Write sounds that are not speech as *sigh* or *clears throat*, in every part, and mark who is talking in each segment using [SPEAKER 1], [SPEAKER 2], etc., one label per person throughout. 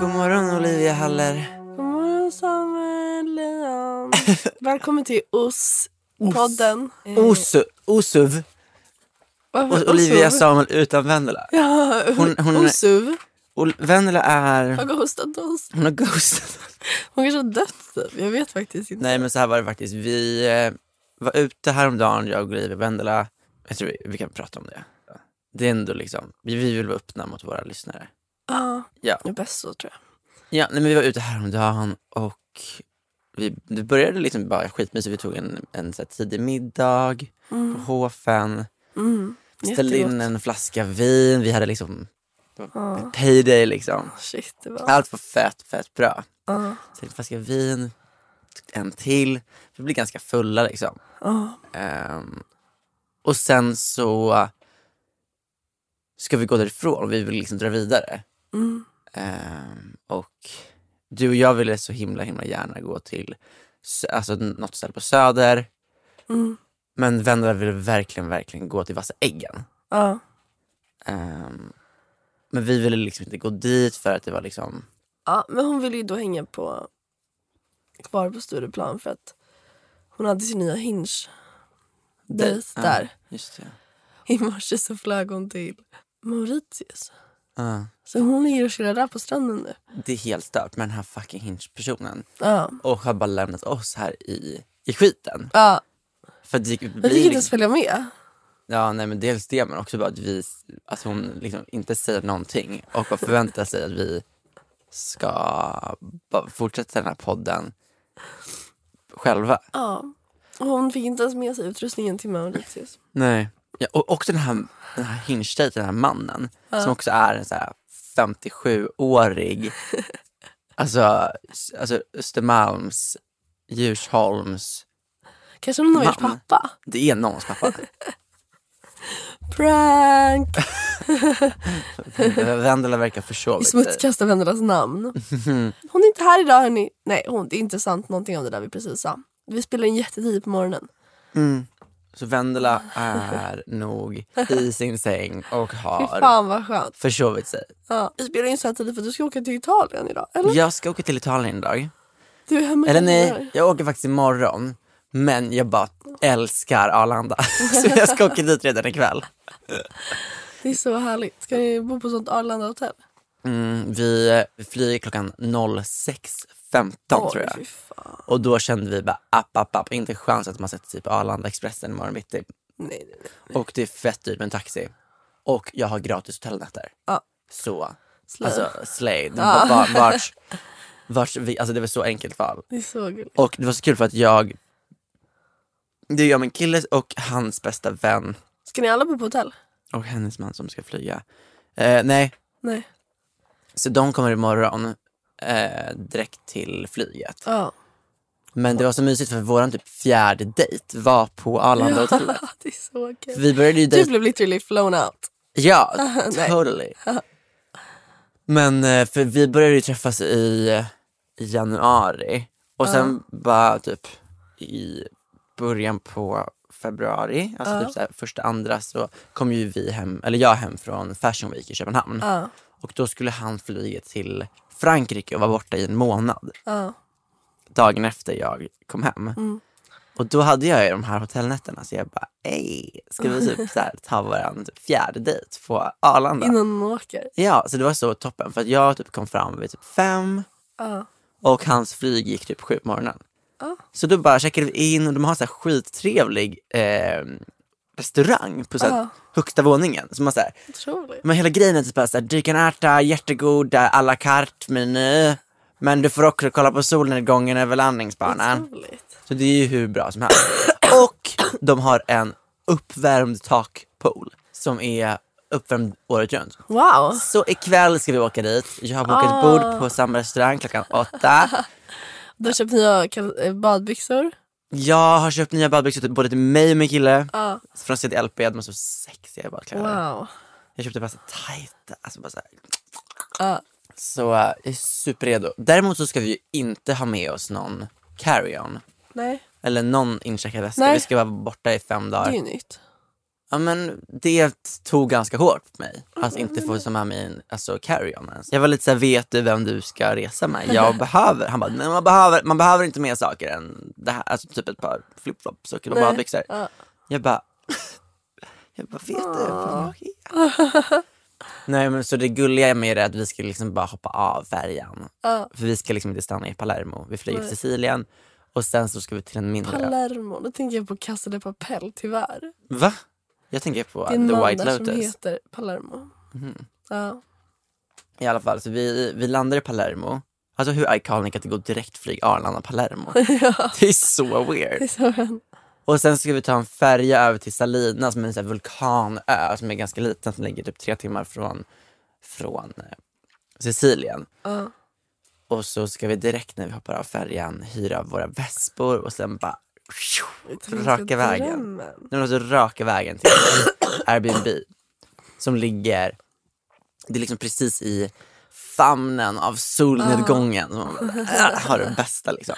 [SPEAKER 1] God morgon Olivia Haller.
[SPEAKER 2] God morgon
[SPEAKER 1] *laughs*
[SPEAKER 2] Samuel Leon. Välkommen till OS-podden. Eh,
[SPEAKER 1] Osu, osuv.
[SPEAKER 2] varför
[SPEAKER 1] O- Olivia
[SPEAKER 2] Osuv?
[SPEAKER 1] Samuel utan Vendela.
[SPEAKER 2] Ja,
[SPEAKER 1] Hon-
[SPEAKER 2] hon,
[SPEAKER 1] hon-
[SPEAKER 2] Osuv
[SPEAKER 1] Ol- Vendela är...
[SPEAKER 2] har ghostat oss.
[SPEAKER 1] Hon har ghostat.
[SPEAKER 2] Hon kanske har dött typ. Jag vet faktiskt
[SPEAKER 1] *laughs*
[SPEAKER 2] inte.
[SPEAKER 1] Nej men så här var det faktiskt. Vi eh, var ute häromdagen, jag och Olivia Vendela. Jag tror vi, vi kan prata om det. Det är ändå liksom, vi, vi vill vara öppna mot våra lyssnare.
[SPEAKER 2] Ja,
[SPEAKER 1] Ja.
[SPEAKER 2] det är bäst så tror jag.
[SPEAKER 1] Ja, nej, men vi var ute häromdagen och vi, det började liksom bara skitmysigt. Vi tog en, en så här tidig middag på Hofen. Ställde in
[SPEAKER 2] Mm. Jättegott.
[SPEAKER 1] en flaska vin. Vi hade liksom, det var ett payday liksom.
[SPEAKER 2] Ah, Shit, det var...
[SPEAKER 1] Allt var fett, fett bra. Sen en flaska vin, en till. Vi blev ganska fulla liksom. Ehm, och sen så ska vi gå därifrån. Vi vill liksom dra vidare. Ehm, och du och jag ville så himla, himla gärna gå till sö- alltså, något ställe på Söder. Men vännerna ville verkligen, verkligen gå till Vassa äggen.
[SPEAKER 2] Ja.
[SPEAKER 1] Ehm, men vi ville liksom inte gå dit för att det var liksom
[SPEAKER 2] ja, men hon ville ju då hänga på kvar på Stureplan för att hon hade sin nya hinge dejt
[SPEAKER 1] Ja,
[SPEAKER 2] där.
[SPEAKER 1] Just det.
[SPEAKER 2] I morse så flög hon till Mauritius.
[SPEAKER 1] Ja.
[SPEAKER 2] Så hon ligger och chillar där på stranden nu.
[SPEAKER 1] Det är helt stört med den här fucking Hinge-personen.
[SPEAKER 2] Ja.
[SPEAKER 1] Och har bara lämnat oss här i, i skiten.
[SPEAKER 2] Ja,
[SPEAKER 1] För att det,
[SPEAKER 2] jag
[SPEAKER 1] vi, liksom-
[SPEAKER 2] fick inte ens följa med.
[SPEAKER 1] ja, nej, men dels det, men också bara att, vi, att hon liksom inte säger någonting och bara förväntar sig att vi ska bara fortsätta den här podden själva.
[SPEAKER 2] Ja. Och hon fick inte ens med sig utrustningen till Mauritius.
[SPEAKER 1] Nej. Ja, och också den här, den här hinge den här mannen som också är en så här
[SPEAKER 2] *laughs*
[SPEAKER 1] 57-årig, alltså, alltså Östermalms, Djursholms,
[SPEAKER 2] Kanske hon har varit
[SPEAKER 1] Mamma.
[SPEAKER 2] pappa.
[SPEAKER 1] det är någons
[SPEAKER 2] *laughs*
[SPEAKER 1] pappa.
[SPEAKER 2] Prank!
[SPEAKER 1] Vendela verkar
[SPEAKER 2] Vi
[SPEAKER 1] försovit sig.
[SPEAKER 2] smutskastar vännernas *laughs* namn. Hon är inte här idag hörni. Nej, hon, det är inte sant någonting av det där vi precis sa. Vi spelar in jättetidigt på morgonen.
[SPEAKER 1] Så Vendela är nog i sin säng och
[SPEAKER 2] Fy
[SPEAKER 1] har
[SPEAKER 2] fan vad skönt.
[SPEAKER 1] försovit sig.
[SPEAKER 2] Ja. Vi spelar in så här tidigt för att du ska åka till Italien idag. Eller?
[SPEAKER 1] Jag ska åka till Italien idag.
[SPEAKER 2] Mm. Du är hemma
[SPEAKER 1] Eller
[SPEAKER 2] i
[SPEAKER 1] nej,
[SPEAKER 2] Kalmar.
[SPEAKER 1] jag åker faktiskt imorgon. Men jag bara älskar Arlanda. *laughs* Så jag ska åka dit redan ikväll.
[SPEAKER 2] Det är så härligt. Ska ni bo på sånt Arlanda hotell?
[SPEAKER 1] Mm, vi flyger klockan 06.15 tror jag.
[SPEAKER 2] fy fan.
[SPEAKER 1] Och då kände vi bara app, app, app. Inte en chans att man sätter sig på Arlanda Expressen imorgon bitti.
[SPEAKER 2] Nej, nej, nej.
[SPEAKER 1] Och det är fett dyrt med en taxi. Och jag har gratis hotellnätter.
[SPEAKER 2] Ja.
[SPEAKER 1] Så,
[SPEAKER 2] Slay.
[SPEAKER 1] alltså
[SPEAKER 2] *laughs*
[SPEAKER 1] slay. Det var, var, vars, vars, vi, alltså det var så enkelt val.
[SPEAKER 2] Det är så gulligt.
[SPEAKER 1] Och det var så kul för att jag, det är jag, min kille och hans bästa vän
[SPEAKER 2] Ska ni alla bo på hotell?
[SPEAKER 1] och hennes man som ska flyga. Eh, nej,
[SPEAKER 2] Nej.
[SPEAKER 1] Så de kommer imorgon eh, direkt till flyget.
[SPEAKER 2] Ja. *laughs*
[SPEAKER 1] Men det var så mysigt för våran typ fjärde dejt var på Arlanda hotel.
[SPEAKER 2] det är så kul.
[SPEAKER 1] Vi började ju
[SPEAKER 2] Du
[SPEAKER 1] dejta,
[SPEAKER 2] blev literally flown out.
[SPEAKER 1] ja
[SPEAKER 2] *laughs* Nej.
[SPEAKER 1] totally. Men eh, för vi började ju träffas i, i januari och sen bara typ i början på februari, alltså typ så här, första andra så kom ju vi hem, eller jag hem från Fashion Week i Köpenhamn. Och då skulle han flyga till Frankrike och vara borta i en månad.
[SPEAKER 2] Ja.
[SPEAKER 1] dagen efter jag kom hem. Och då hade jag ju de här hotellnätterna så jag bara, ey, ska vi typ så här, ta våran typ fjärde dejt på Arlanda?
[SPEAKER 2] Innan man åker.
[SPEAKER 1] Ja, så det var så toppen för att jag typ kom fram vid typ fem och hans flyg gick typ sju på morgonen. Så då bara checkade vi in och de har så här skittrevlig eh, restaurang på så här, högsta våningen. Så man så här,
[SPEAKER 2] Otroligt.
[SPEAKER 1] men hela grejen är typ bara såhär, dykanärta, jättegoda, à la carte-meny. Men du får också kolla på solnedgången över landningsbanan.
[SPEAKER 2] Otroligt.
[SPEAKER 1] Så det är ju hur bra som helst. *clears throat* Och de har en uppvärmd takpool som är uppvärmd året runt.
[SPEAKER 2] Wow.
[SPEAKER 1] Så ikväll ska vi åka dit. Jag har bokat
[SPEAKER 2] Ah.
[SPEAKER 1] bord på samma restaurang klockan åtta.
[SPEAKER 2] Då köpte jag kal- eh, badbyxor.
[SPEAKER 1] Jag har köpt nya badbyxor till både till mig och min kille. Från CDLP, de är så sexiga i badkläder.
[SPEAKER 2] Ah. Wow.
[SPEAKER 1] Jag köpte bara så tajta, alltså bara så här. Så eh, jag är superredo. Däremot så ska vi ju inte ha med oss någon carry-on.
[SPEAKER 2] Nej,
[SPEAKER 1] Eller någon incheckad väska.
[SPEAKER 2] Nej.
[SPEAKER 1] Vi ska vara borta i fem
[SPEAKER 2] det är
[SPEAKER 1] dagar.
[SPEAKER 2] ju nytt.
[SPEAKER 1] Ja men det tog ganska hårt på mig. Att
[SPEAKER 2] Mm.
[SPEAKER 1] inte få ta med mig en alltså, carry-on ens. Jag var lite såhär, vet du vem du ska resa med?
[SPEAKER 2] *laughs*
[SPEAKER 1] Jag behöver. Han bara, men man behöver, man behöver inte mer saker än det här. Alltså typ ett par flipflops och ett par
[SPEAKER 2] Nej.
[SPEAKER 1] badbyxor.
[SPEAKER 2] Ja.
[SPEAKER 1] Jag bara, *laughs* jag bara, vet du vem jag är?
[SPEAKER 2] *laughs*
[SPEAKER 1] Nej men så det gulliga med det är att vi ska liksom bara hoppa av färjan. För vi ska liksom inte stanna i Palermo. Vi flyger till Sicilien och sen så ska vi till en mindre ö.
[SPEAKER 2] Palermo, då tänker jag på Casa de Papel tyvärr.
[SPEAKER 1] Va? Jag tänker på
[SPEAKER 2] Det är en
[SPEAKER 1] The
[SPEAKER 2] man
[SPEAKER 1] White
[SPEAKER 2] där som
[SPEAKER 1] Lotus. Mhm.
[SPEAKER 2] heter Palermo. Ja.
[SPEAKER 1] I alla fall, så vi, vi landar i Palermo. Alltså hur iconic att det går direktflyg Arlanda-Palermo. Det är så weird.
[SPEAKER 2] Så han-
[SPEAKER 1] Och sen ska vi ta en färja över till Salina som är en sån här vulkanö som är ganska liten som ligger typ tre timmar från, från eh, Sicilien.
[SPEAKER 2] Ja.
[SPEAKER 1] Och så ska vi direkt när vi hoppar av färjan hyra våra vespor och sen bara raka
[SPEAKER 2] Italienska
[SPEAKER 1] vägen.
[SPEAKER 2] drömmen.
[SPEAKER 1] Den måste raka vägen till Airbnb. Som ligger, det är liksom precis i famnen av solnedgången.
[SPEAKER 2] Ah.
[SPEAKER 1] Så man bara, "Äh, har det bästa liksom.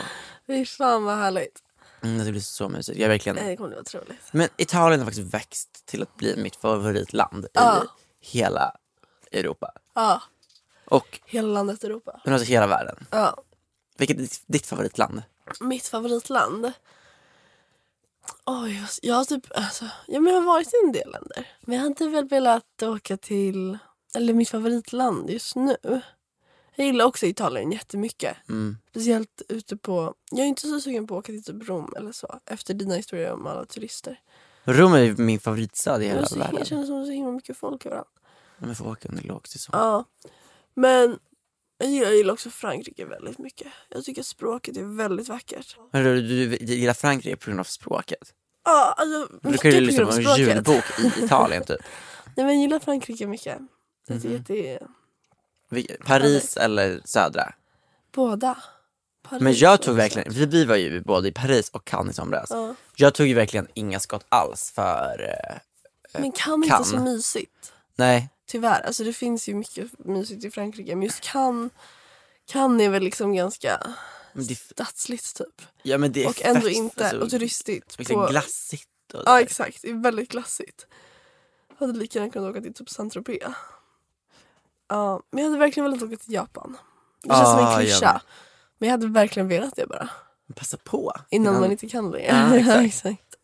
[SPEAKER 2] Fy fan vad härligt.
[SPEAKER 1] Mm, det blir så mysigt. Jag är verkligen...
[SPEAKER 2] Nej, Det kommer bli otroligt.
[SPEAKER 1] Men Italien har faktiskt växt till att bli mitt favoritland i
[SPEAKER 2] Ah.
[SPEAKER 1] hela Europa.
[SPEAKER 2] Ja.
[SPEAKER 1] Och
[SPEAKER 2] Hela landet Europa.
[SPEAKER 1] men också hela världen.
[SPEAKER 2] Ja.
[SPEAKER 1] Vilket är ditt, ditt favoritland?
[SPEAKER 2] Mitt favoritland? Oj, jag har typ... Alltså, ja, men jag har varit i en del länder. Men jag hade väl velat åka till... Eller mitt favoritland just nu. Jag gillar också Italien jättemycket.
[SPEAKER 1] Mm.
[SPEAKER 2] Speciellt ute på... Jag är inte så sugen på att åka till typ Rom eller så. Efter dina historier om alla turister.
[SPEAKER 1] Rom är ju min favoritstad i
[SPEAKER 2] Det var
[SPEAKER 1] hela
[SPEAKER 2] så,
[SPEAKER 1] världen.
[SPEAKER 2] jag känner som det är så himla mycket folk överallt.
[SPEAKER 1] Men vi får åka under lågsäsong.
[SPEAKER 2] Ja. Men jag gillar, jag gillar också Frankrike väldigt mycket. Jag tycker att språket är väldigt vackert.
[SPEAKER 1] Men du, du, du gillar Frankrike på grund av språket?
[SPEAKER 2] Ja, alltså
[SPEAKER 1] Du kan
[SPEAKER 2] mycket
[SPEAKER 1] ju
[SPEAKER 2] på grund
[SPEAKER 1] liksom
[SPEAKER 2] av
[SPEAKER 1] ha en
[SPEAKER 2] språket.
[SPEAKER 1] julbok i Italien typ.
[SPEAKER 2] Nej men jag gillar Frankrike mycket. Jag
[SPEAKER 1] Mhm.
[SPEAKER 2] tycker att det är
[SPEAKER 1] Vilket- Paris eller södra.
[SPEAKER 2] båda. Paris
[SPEAKER 1] Men jag tog
[SPEAKER 2] också.
[SPEAKER 1] verkligen, för vi var ju både i Paris och Cannes i somras.
[SPEAKER 2] Ja.
[SPEAKER 1] Jag tog ju verkligen inga skott alls för, eh,
[SPEAKER 2] Men kan
[SPEAKER 1] Cannes.
[SPEAKER 2] inte så mysigt.
[SPEAKER 1] nej,
[SPEAKER 2] Tyvärr. Alltså det finns ju mycket mysigt i Frankrike. Men just kan kan är väl liksom ganska
[SPEAKER 1] men det,
[SPEAKER 2] stadsligt typ.
[SPEAKER 1] ja, men det är
[SPEAKER 2] Och ändå
[SPEAKER 1] fest,
[SPEAKER 2] inte.
[SPEAKER 1] alltså,
[SPEAKER 2] och turistigt.
[SPEAKER 1] Liksom glassigt och
[SPEAKER 2] Ja
[SPEAKER 1] där.
[SPEAKER 2] exakt. Det är väldigt glassigt. Jag hade lika gärna kunnat åka till typ Saint-Tropez. Ja, men jag hade verkligen velat åka till Japan. Det känns
[SPEAKER 1] Ah,
[SPEAKER 2] som en
[SPEAKER 1] jag med.
[SPEAKER 2] klyscha. Men jag hade verkligen velat det bara.
[SPEAKER 1] Passa på.
[SPEAKER 2] Innan man inte kan längre.
[SPEAKER 1] Ja, exakt.
[SPEAKER 2] *laughs* exakt.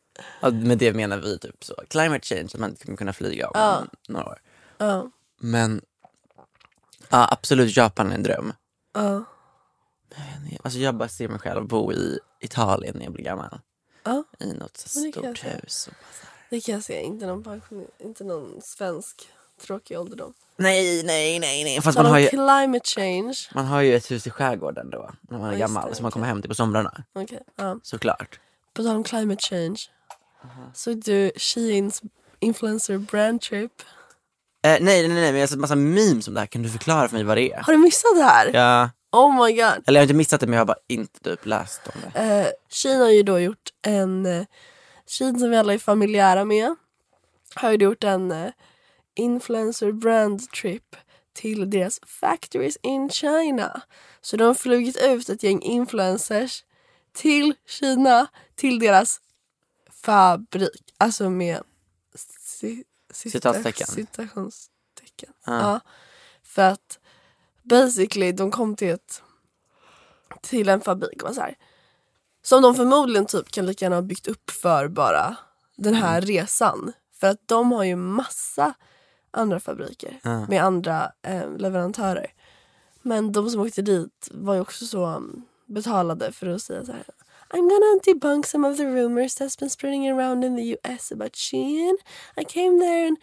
[SPEAKER 1] ja, med det menar vi typ så, climate change, att man inte kommer kunna flyga om
[SPEAKER 2] Ja.
[SPEAKER 1] några år.
[SPEAKER 2] Ja.
[SPEAKER 1] Men ja, absolut, Japan är en dröm.
[SPEAKER 2] Ja.
[SPEAKER 1] Alltså jag bara ser mig själv bo i Italien när jag blir gammal.
[SPEAKER 2] Ja.
[SPEAKER 1] I något så
[SPEAKER 2] Men det kan jag
[SPEAKER 1] stort
[SPEAKER 2] säga.
[SPEAKER 1] hus. Och bara så här.
[SPEAKER 2] Det kan jag säga. Inte någon, pension, inte någon svensk tråkig ålderdom.
[SPEAKER 1] Nej, nej, nej, nej. Fast man
[SPEAKER 2] Tal
[SPEAKER 1] har,
[SPEAKER 2] om
[SPEAKER 1] ju,
[SPEAKER 2] climate change.
[SPEAKER 1] man har ju ett hus i skärgården då, när man är
[SPEAKER 2] just
[SPEAKER 1] gammal,
[SPEAKER 2] det,
[SPEAKER 1] som man kommer hem till på somrarna.
[SPEAKER 2] Okej. ja.
[SPEAKER 1] Såklart.
[SPEAKER 2] På tal om climate change. Såg du Sheins influencer brand trip?
[SPEAKER 1] Eh, nej, nej, nej, men jag har sett massa memes om det här. Kan du förklara för mig vad det är?
[SPEAKER 2] Har du missat det här?
[SPEAKER 1] Ja,
[SPEAKER 2] Oh my god.
[SPEAKER 1] eller jag har inte missat det, men jag har bara inte typ läst om det.
[SPEAKER 2] Eh, Kina har ju då gjort en... Eh, Kina som vi alla är familjära med har ju gjort en eh, influencer brand trip till deras factories in China. Så de har flugit ut ett gäng influencers till Kina, till deras fabrik. Alltså med ci- cita-
[SPEAKER 1] Citatstecken.
[SPEAKER 2] citationstecken. Ja. För att basically de kom till ett till en fabrik och var så här, som de förmodligen typ kan lika gärna ha byggt upp för bara den här resan. För att de har ju massa andra fabriker med andra eh, leverantörer. Men de som åkte dit var ju också så um, betalade för att säga så här. I'm gonna debunk some of the rumors that's been spreading around in the US about Shein. I came there and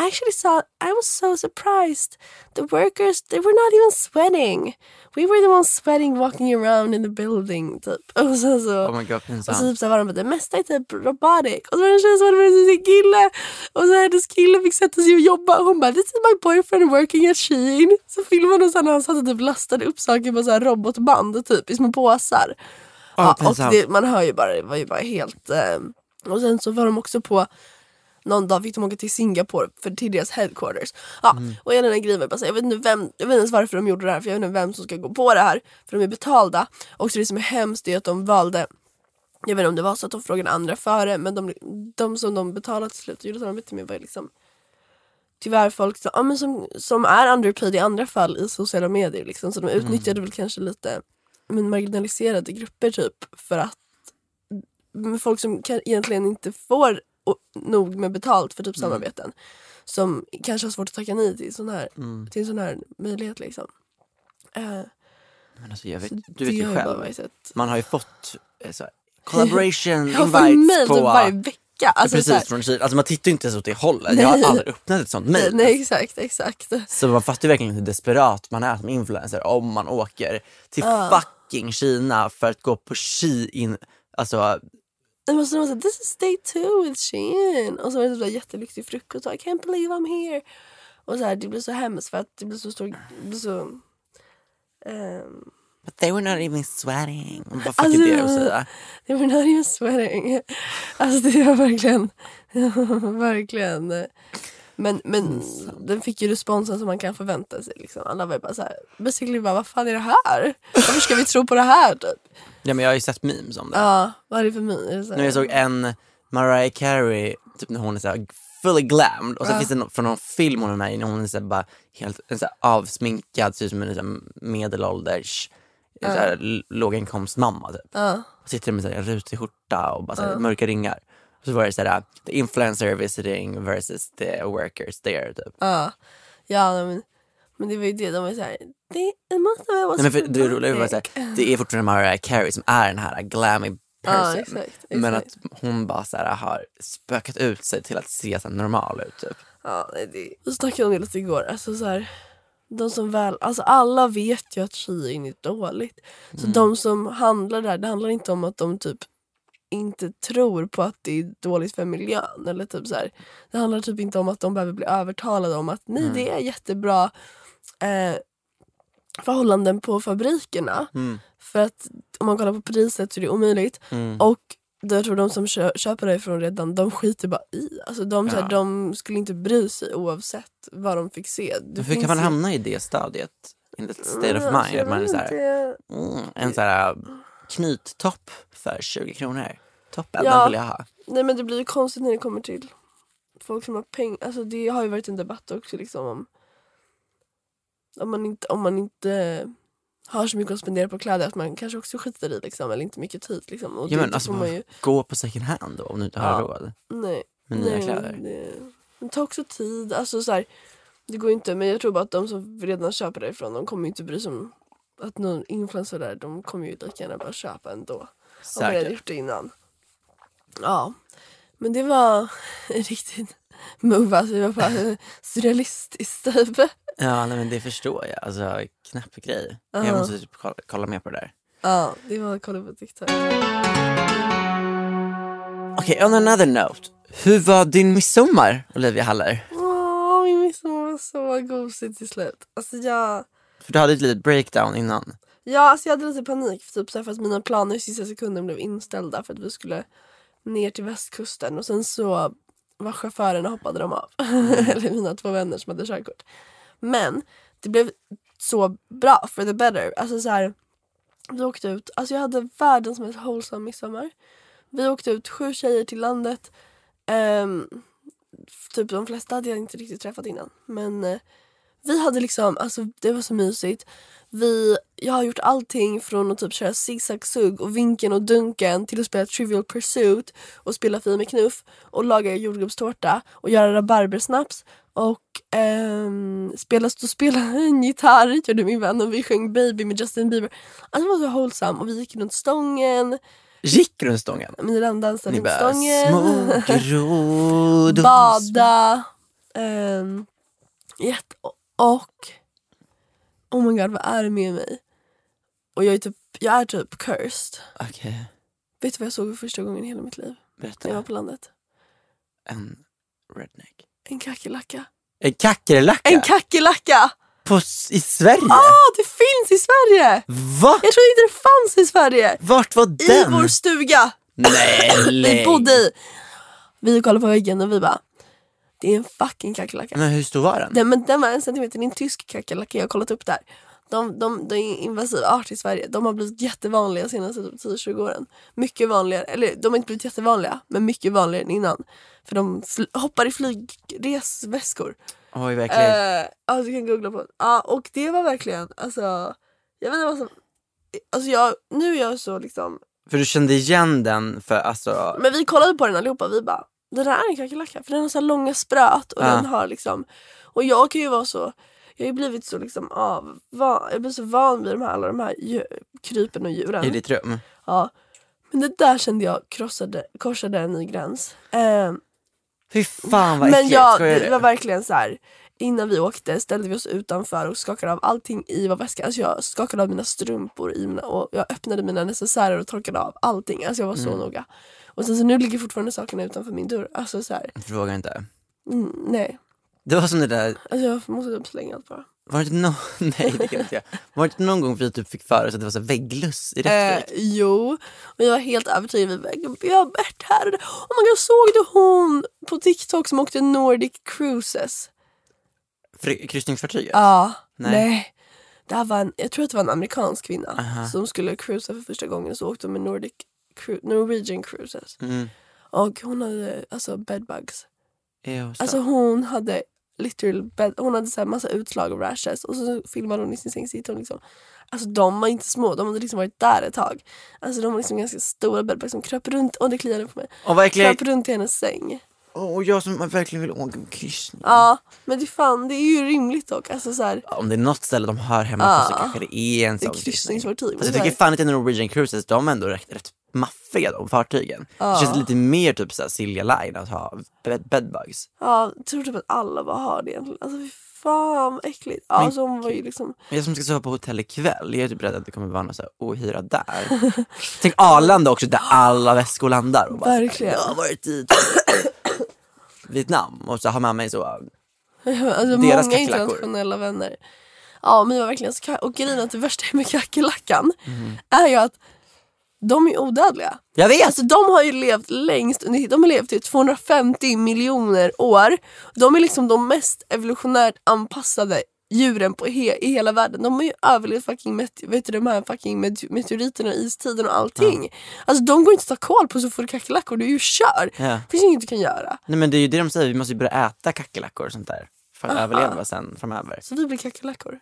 [SPEAKER 2] I actually saw, I was so surprised. The workers, they were not even sweating. We were the ones sweating walking around in the building typ. *laughs* Och sen så...
[SPEAKER 1] Oh my god,
[SPEAKER 2] Och så
[SPEAKER 1] pinsamt.
[SPEAKER 2] typ så här var de bara, det mesta är typ robotic. Och så var det en tjej som hade med sig sin kille. Och så hennes kille fick sätta sig och jobba. Och hon bara, this is my boyfriend working at Shein. Så filmade hon sen när han satt och typ lastade upp saker på så här robotband typ i små påsar.
[SPEAKER 1] Åh,
[SPEAKER 2] och
[SPEAKER 1] pinsamt.
[SPEAKER 2] det, man hör ju bara, det var ju bara helt... Eh, och sen så var de också på någon dag fick de åka till Singapore för till deras headquarters. Ja, Och hela den här grejen var bara så här, jag vet inte vem, jag vet inte ens varför de gjorde det här för jag vet inte vem som ska gå på det här för de är betalda. Och så det som är hemskt är att de valde jag vet inte om det var så att de frågade andra före men de, de som de betalade till slut gjorde samarbete med var ju liksom tyvärr folk som, ja, men som, som är underpaid i andra fall i sociala medier liksom så de utnyttjade väl kanske lite men marginaliserade grupper typ för att men folk som kan, egentligen inte får o- nog med betalt för typ
[SPEAKER 1] Mm.
[SPEAKER 2] samarbeten som kanske har svårt att tacka nej till, sån här,
[SPEAKER 1] Mm.
[SPEAKER 2] till en sån här möjlighet liksom. Eh,
[SPEAKER 1] Men alltså, jag vet,
[SPEAKER 2] det
[SPEAKER 1] du vet
[SPEAKER 2] har
[SPEAKER 1] ju
[SPEAKER 2] jag bara
[SPEAKER 1] själv.
[SPEAKER 2] varit ett-
[SPEAKER 1] Man har ju fått eh, så här, collaboration
[SPEAKER 2] *laughs* Jag får mejl
[SPEAKER 1] invites
[SPEAKER 2] typ varje
[SPEAKER 1] på...
[SPEAKER 2] vecka. Alltså, så här-
[SPEAKER 1] Precis, från Kina. Alltså man tittar ju inte ens åt det hållet. Jag har
[SPEAKER 2] Nej.
[SPEAKER 1] aldrig öppnat ett sånt mejl.
[SPEAKER 2] Nej exakt, exakt.
[SPEAKER 1] Så man fattar ju verkligen hur desperat man är som influencer om man åker till fucking Kina för att gå på Shein. in Alltså,
[SPEAKER 2] Det måste vara såhär, this is day two with Shein. Och så var det typ så här jättelyxig frukost och I can't believe I'm here. Och så här, det blir så hemskt för att det blir så stor, det blir så... ehm,
[SPEAKER 1] but they were not even sweating. Vad fuck
[SPEAKER 2] Alltså-
[SPEAKER 1] är det att säga?
[SPEAKER 2] they were not even sweating. Alltså det var verkligen, verkligen. eh, Men, men
[SPEAKER 1] Mm.
[SPEAKER 2] den fick ju responsen som man kan förvänta sig. Liksom. Alla var ju bara såhär, basically bara vad fan är det här? Varför ska vi tro på det här? Typ?
[SPEAKER 1] Ja, men jag har ju sett memes om det.
[SPEAKER 2] Ja, vad är det för mig? Är det så här-
[SPEAKER 1] Nu jag såg en Mariah Carey, typ när hon är såhär fully glammed och så finns det någon, från någon film hon är med i när hon är såhär bara helt en såhär avsminkad, ser ut som en såhär medelålders uh. såhär, l- låginkomstmamma typ. Och sitter med såhär, en rutig skjorta och bara såhär, mörka ringar. Och så var det såhär, the influencer visiting versus the workers there typ.
[SPEAKER 2] Ja, nej, men, men det var ju det. De var ju såhär, det det måste väl vara
[SPEAKER 1] Nej, men för, det
[SPEAKER 2] superbra.
[SPEAKER 1] roliga var såhär, det är fortfarande Mariah Carey som är den här glammy person.
[SPEAKER 2] Ja, exakt,
[SPEAKER 1] Men att
[SPEAKER 2] exakt.
[SPEAKER 1] hon bara såhär, har spökat ut sig till att se såhär, normal ut typ.
[SPEAKER 2] Ja, nej, det... Vi snackade om det lite igår. Alltså så här, de som väl, alltså alla vet ju att Shein är dåligt. Så
[SPEAKER 1] Mm.
[SPEAKER 2] de som handlar där, det handlar inte om att de typ inte tror på att det är dåligt för miljön. Eller typ så här. Det handlar typ inte om att de behöver bli övertalade om att nej det är jättebra eh, förhållanden på fabrikerna.
[SPEAKER 1] Mm.
[SPEAKER 2] För att om man kollar på priset så är det omöjligt.
[SPEAKER 1] Mm.
[SPEAKER 2] Och jag tror de som kö- köper därifrån redan, de skiter bara i. Alltså de, så här, de skulle inte bry sig oavsett vad de fick se. Det
[SPEAKER 1] Hur
[SPEAKER 2] finns
[SPEAKER 1] kan man
[SPEAKER 2] ju-
[SPEAKER 1] hamna i det stadiet? In the state of
[SPEAKER 2] Mm,
[SPEAKER 1] mind.
[SPEAKER 2] jag
[SPEAKER 1] Att man är
[SPEAKER 2] vet
[SPEAKER 1] så här,
[SPEAKER 2] inte.
[SPEAKER 1] mm, en så här knyttopp för 20 kronor. Toppen,
[SPEAKER 2] Ja.
[SPEAKER 1] den vill jag ha.
[SPEAKER 2] Nej men det blir ju konstigt när det kommer till folk som har pengar. Alltså det har ju varit en debatt också liksom om om man inte, om man inte har så mycket att spendera på kläder att man kanske också skiter i liksom eller inte mycket tid liksom. Och
[SPEAKER 1] Ja,
[SPEAKER 2] det
[SPEAKER 1] men, alltså,
[SPEAKER 2] får man ju,
[SPEAKER 1] Gå på second hand då om du inte
[SPEAKER 2] Ja.
[SPEAKER 1] har råd
[SPEAKER 2] nej.
[SPEAKER 1] med nya
[SPEAKER 2] nej,
[SPEAKER 1] kläder.
[SPEAKER 2] Det, det tar också tid. Alltså så här, det går ju inte men jag tror bara att de som redan köper därifrån de kommer ju inte bry sig om att någon influencer där de kommer ju lika gärna bara köpa ändå. Om man hade
[SPEAKER 1] Säkert.
[SPEAKER 2] gjort det innan. Ja. Men det var *laughs* en riktigt move. Alltså, det var bara *laughs* surrealistiskt *laughs* typ.
[SPEAKER 1] Ja, nej, men det förstår jag. Alltså, knäpp grej. Jag måste typ kolla, kolla mer på det där.
[SPEAKER 2] Ja, det var kolla på TikTok.
[SPEAKER 1] Okej, on another note. Hur var din midsommar, Olivia Haller?
[SPEAKER 2] Åh, min midsommar var så gosigt till slut. Alltså jag,
[SPEAKER 1] För du hade ett litet breakdown innan.
[SPEAKER 2] ja, alltså jag hade lite panik för, typ, så här, för att mina planer i sista sekunden blev inställda för att vi skulle ner till västkusten och sen så var chaufförerna hoppade de av. *laughs* Eller mina två vänner som hade körkort. Men det blev så bra, for the better. Alltså så här, vi åkte ut, alltså jag hade världens mest wholesome midsommar. Vi åkte ut sju tjejer till landet. Ehm, typ de flesta hade jag inte riktigt träffat innan. Men eh, vi hade liksom, alltså det var så mysigt. Vi, jag har gjort allting från att typ köra zigzag-sugg och vinkeln och dunken till att spela Trivial Pursuit och spela Fi med knuff och laga jordgubbstårta och göra rabarbersnaps och ehm, spela, stå, spela *laughs* en gitarr gjorde min vän och vi sjöng Baby med Justin Bieber. Alltså det var så wholesome och vi gick runt stången,
[SPEAKER 1] Gick runt stången?
[SPEAKER 2] Milan dansade
[SPEAKER 1] Ni
[SPEAKER 2] runt
[SPEAKER 1] bara
[SPEAKER 2] stången.
[SPEAKER 1] små grodor.
[SPEAKER 2] Bada. ehm, jätte- och... Oh my god, vad är det med mig? Och jag är typ, jag är typ cursed.
[SPEAKER 1] Okej,
[SPEAKER 2] Vet du vad jag såg för första gången i hela mitt liv? När jag var
[SPEAKER 1] berätta.
[SPEAKER 2] på landet?
[SPEAKER 1] En redneck.
[SPEAKER 2] En kackerlacka.
[SPEAKER 1] En kackerlacka?
[SPEAKER 2] En Ah! kackerlacka!
[SPEAKER 1] På s- I Sverige?
[SPEAKER 2] Ja, det finns i Sverige!
[SPEAKER 1] Va?
[SPEAKER 2] Jag trodde inte det fanns i Sverige!
[SPEAKER 1] Vart var
[SPEAKER 2] I
[SPEAKER 1] den?
[SPEAKER 2] vår stuga!
[SPEAKER 1] Nej,
[SPEAKER 2] *laughs* Vi
[SPEAKER 1] lägg.
[SPEAKER 2] bodde i. Vi kollade på väggen och vi bara, det är en fucking kackerlacka.
[SPEAKER 1] Men hur stor var den?
[SPEAKER 2] Den, men den var en centimeter, det är en tysk kackerlacka, jag har kollat upp där. De, de, de är en invasiv art i Sverige. De har blivit jättevanliga de senaste typ 10-20 åren. Mycket vanligare, eller de har inte blivit jättevanliga, men mycket vanligare än innan. För de fl- hoppar i flygresväskor.
[SPEAKER 1] Oj, verkligen.
[SPEAKER 2] Eh, ja, du kan googla på det. Ja, och det var verkligen, alltså, jag vet inte vad som... Alltså jag, nu är jag så liksom...
[SPEAKER 1] För du kände igen den för alltså...
[SPEAKER 2] Men vi kollade på den allihopa vi bara det där är en kackerlacka för den har så här långa spröt och
[SPEAKER 1] Ja.
[SPEAKER 2] den har liksom och jag kan ju vara så jag har ju blivit så liksom av van, jag blir så van vid de här, alla de här djur, krypen och djuren.
[SPEAKER 1] I ditt rum?
[SPEAKER 2] Ja. Men det där kände jag krossade, korsade en ny gräns. Ehm,
[SPEAKER 1] Fy fan vad
[SPEAKER 2] men
[SPEAKER 1] äckligt,
[SPEAKER 2] jag,
[SPEAKER 1] skojar
[SPEAKER 2] det
[SPEAKER 1] du?
[SPEAKER 2] var verkligen så här. innan vi åkte ställde vi oss utanför och skakade av allting i vår väska. Alltså jag skakade av mina strumpor i mina, och jag öppnade mina necessärer och torkade av allting. Alltså jag var så
[SPEAKER 1] Mm.
[SPEAKER 2] noga. Och sen så nu ligger fortfarande sakerna utanför min dörr. Alltså så här,
[SPEAKER 1] Fråga inte.
[SPEAKER 2] mm, nej.
[SPEAKER 1] Det var som det där,
[SPEAKER 2] Alltså jag måste typ slänga allt bara.
[SPEAKER 1] var det inte någon, *laughs* nej det kan jag inte göra. Var det inte någon gång vi typ fick för oss att det var så här vägglöss i
[SPEAKER 2] Eh,
[SPEAKER 1] Rättvik?
[SPEAKER 2] jo, och jag var helt övertygad. Vi bara, Vi har Bert här och där. Oh my god, såg du hon på TikTok som åkte Nordic Cruises?
[SPEAKER 1] Fri- Kryssningsfartyget?
[SPEAKER 2] Ja,
[SPEAKER 1] Nej.
[SPEAKER 2] nej. Det här var en, jag tror att det var en amerikansk kvinna som skulle cruisa för första gången så åkte hon med Nordic Cru- Norwegian Cruises.
[SPEAKER 1] Mm.
[SPEAKER 2] Och hon hade alltså bedbugs.
[SPEAKER 1] Ew, så.
[SPEAKER 2] Alltså hon hade literal bed, hon hade så här massa utslag och rashes och så filmade hon i sin säng sitter hon liksom. Alltså de var inte små, de hade liksom varit där ett tag. Alltså de var liksom ganska stora bedbugs som kröp runt, och det kliade på mig.
[SPEAKER 1] och verkligen,
[SPEAKER 2] Kröp runt i hennes säng.
[SPEAKER 1] och jag som verkligen vill åka en kryssning.
[SPEAKER 2] Ja, men det fan det är ju rimligt dock. Alltså så här,
[SPEAKER 1] Om det är något ställe de hör hemma
[SPEAKER 2] Ja.
[SPEAKER 1] på så kanske det är en
[SPEAKER 2] det är
[SPEAKER 1] sån kryssning.
[SPEAKER 2] kryssningsfartyg.
[SPEAKER 1] Alltså, jag tycker fan inte Norwegian Cruises, de är ändå rätt, rätt maffiga de fartygen. Det känns lite mer typ såhär Silja Line att ha bed- bedbugs.
[SPEAKER 2] Ja, jag tror typ att alla bara har det egentligen. Alltså fy fan vad äckligt. Ja, så hon var ju liksom...
[SPEAKER 1] Men jag som ska sova på hotell ikväll, jag är typ rädd att det kommer vara någon så här ohyra där. *laughs* Tänk Arlanda också där alla väskor landar. Och bara, så här,
[SPEAKER 2] Verkligen.
[SPEAKER 1] Jag har varit i *coughs* Vietnam och så har man mig så,
[SPEAKER 2] Alltså
[SPEAKER 1] Deras
[SPEAKER 2] många
[SPEAKER 1] kackerlackor.
[SPEAKER 2] internationella vänner. Ja, men det var verkligen så... ka- Och grejen är att det värsta *laughs* med kackerlackan är ju att de är odödliga.
[SPEAKER 1] jag vet!
[SPEAKER 2] Alltså de har ju levt längst, under- de har levt i 250 miljoner år. De är liksom de mest evolutionärt anpassade djuren på he, i hela världen. De har ju överlevt fucking met, vet du, de här fucking met, meteoriterna och istiden och allting. Alltså de går inte att ta koll på så får du kackerlackor, du är ju kör.
[SPEAKER 1] Ja.
[SPEAKER 2] finns inget du kan göra.
[SPEAKER 1] Nej men det är ju det de säger, vi måste ju börja äta kackerlackor och sånt där. För
[SPEAKER 2] Ah,
[SPEAKER 1] att överleva sen framöver.
[SPEAKER 2] Så vi blir kackerlackor.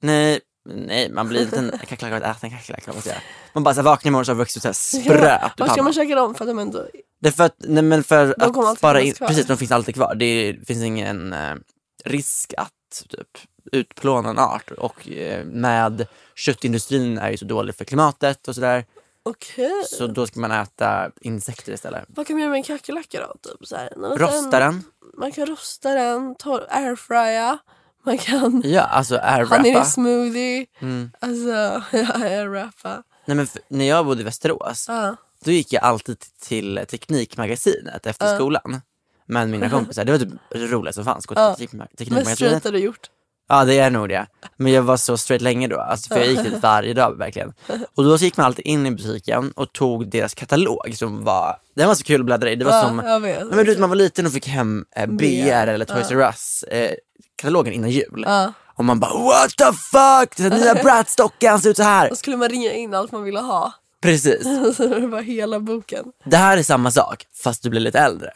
[SPEAKER 1] Nej, nej man blir inte en
[SPEAKER 2] *laughs*
[SPEAKER 1] kackerlacka av att äta en kackerlacka. måste jag säga. Man bara så här, vaknar imorgon så har det vuxit så här spröt i
[SPEAKER 2] Vad ska
[SPEAKER 1] pannan.
[SPEAKER 2] man käka dem för att de ändå...
[SPEAKER 1] Det är för att, nej men för
[SPEAKER 2] kommer
[SPEAKER 1] att
[SPEAKER 2] alltid
[SPEAKER 1] spara
[SPEAKER 2] finnas
[SPEAKER 1] in,
[SPEAKER 2] kvar.
[SPEAKER 1] precis de finns alltid kvar. Det är- finns ingen eh, risk att typ, utplåna en art och eh, med köttindustrin är ju så dålig för klimatet och sådär.
[SPEAKER 2] Okej.
[SPEAKER 1] Så då ska man äta insekter istället.
[SPEAKER 2] Vad kan man göra med en kackerlacka då? Typ så här, när man-
[SPEAKER 1] Rosta den,
[SPEAKER 2] Man kan rosta den, torr, airfrya. Man kan...
[SPEAKER 1] ja alltså
[SPEAKER 2] Han är i
[SPEAKER 1] airwrappa.
[SPEAKER 2] smoothie.
[SPEAKER 1] Mm.
[SPEAKER 2] Alltså, *laughs* jag är rappa.
[SPEAKER 1] Nej men för, när jag bodde i Västerås,
[SPEAKER 2] Ja.
[SPEAKER 1] då gick jag alltid till Teknikmagasinet efter skolan. Men
[SPEAKER 2] *laughs*
[SPEAKER 1] mina kompisar, det var typ det roligaste som fanns, gå till teknikma-
[SPEAKER 2] Mest
[SPEAKER 1] Teknikmagasinet.
[SPEAKER 2] straight har du gjort.
[SPEAKER 1] Ja det är nog det. Men jag var så straight länge då, alltså, för jag gick dit varje dag verkligen. Och då så gick man alltid in i butiken och tog deras katalog som var, den var så kul att bläddra i. Det var
[SPEAKER 2] Ja,
[SPEAKER 1] som,
[SPEAKER 2] jag vet.
[SPEAKER 1] Nej, men du vet man var liten och fick hem eh, BR eller Toys R Us eh, katalogen innan jul. Och man bara what the fuck, den
[SPEAKER 2] *laughs*
[SPEAKER 1] nya Bratz-dockan ser ut så här.
[SPEAKER 2] Och skulle man ringa in allt man ville ha. *laughs*
[SPEAKER 1] Precis.
[SPEAKER 2] Så det var hela boken. *laughs*
[SPEAKER 1] det här är samma sak fast du blir lite äldre.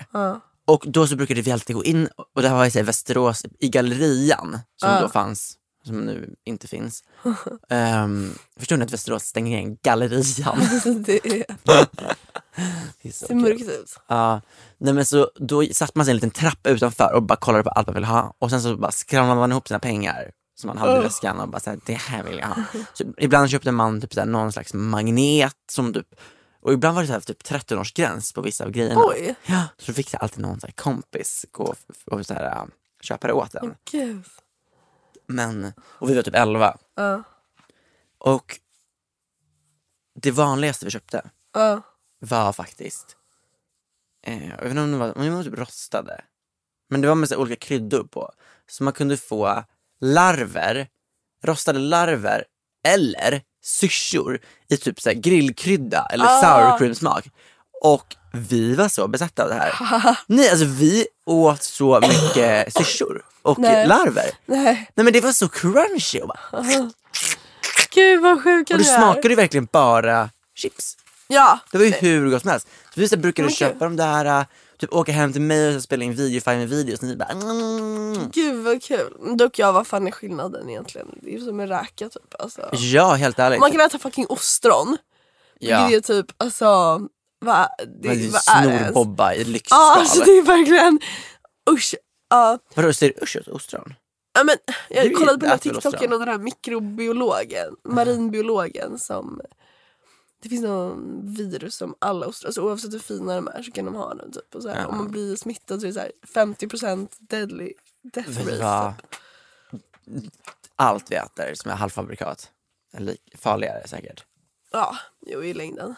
[SPEAKER 1] Och då så brukade vi alltid gå in, och det här var i så här, Västerås, i gallerian som då fanns, som nu inte finns. *laughs* um, förstår ni att Västerås stänger igen
[SPEAKER 2] *laughs*
[SPEAKER 1] gallerian?
[SPEAKER 2] Det, är,
[SPEAKER 1] Det är så
[SPEAKER 2] det är
[SPEAKER 1] kul.
[SPEAKER 2] mörkt ut.
[SPEAKER 1] Ja. nej men så då satt man sig i en liten trappa utanför och bara kollade på allt man ville ha och sen så bara skramlade man ihop sina pengar som man hade i väskan och bara såhär, det här vill jag ha. Så ibland köpte man typ såhär, någon slags magnet som typ, och ibland var det såhär, typ 13-årsgräns på vissa av grejerna.
[SPEAKER 2] Oj.
[SPEAKER 1] Ja, så då fick jag alltid någon så här kompis gå och, och så här, äh, köpa det åt en.
[SPEAKER 2] Gud.
[SPEAKER 1] Men, och vi var typ 11. Och det vanligaste vi köpte
[SPEAKER 2] Ja.
[SPEAKER 1] var faktiskt, eh, jag vet inte om det var, om det var typ rostade. Men det var med så här olika kryddor på. Så man kunde få larver, rostade larver eller syrsor i typ så här grillkrydda eller sour cream smak. Och vi var så besatta av det här. Nej, alltså vi åt så mycket syrsor och
[SPEAKER 2] Nej.
[SPEAKER 1] larver.
[SPEAKER 2] Nej.
[SPEAKER 1] Nej men det var så crunchy och, bara,
[SPEAKER 2] Gud vad sjuka
[SPEAKER 1] och det smakade ju verkligen bara chips.
[SPEAKER 2] Ja.
[SPEAKER 1] Det var ju hur gott som helst. Så vi så brukade
[SPEAKER 2] Eh, Men gud.
[SPEAKER 1] köpa de där, äh, typ åka hem till mig och så spela in videofilm med videos. Och ni bara, mm.
[SPEAKER 2] Gud vad kul. Dock jag, vad fan är skillnaden egentligen? Det är ju som en räka typ. Alltså.
[SPEAKER 1] Ja, helt ärligt.
[SPEAKER 2] Man kan äta fucking ostron.
[SPEAKER 1] ja.
[SPEAKER 2] Det är typ alltså, vad, det,
[SPEAKER 1] Men det
[SPEAKER 2] vad
[SPEAKER 1] är
[SPEAKER 2] är det ens? Ja
[SPEAKER 1] snorbobba i lyxskal.
[SPEAKER 2] alltså det är verkligen, usch. Ja.
[SPEAKER 1] Vadå, säger du usch åt ostron?
[SPEAKER 2] Ja, men,
[SPEAKER 1] Du
[SPEAKER 2] jag kollade på den här
[SPEAKER 1] äter väl
[SPEAKER 2] TikToken
[SPEAKER 1] ostron?
[SPEAKER 2] och den här mikrobiologen, marinbiologen som det finns någon virus som alla ostron, så oavsett hur fina de är så kan de ha den. Typ. Och så här, Om man blir smittad så är det så här 50% deadly death typ.
[SPEAKER 1] Vet du
[SPEAKER 2] rate.
[SPEAKER 1] vad? Allt vi äter som är halvfabrikat är lik- farligare säkert.
[SPEAKER 2] Ja, jo i längden.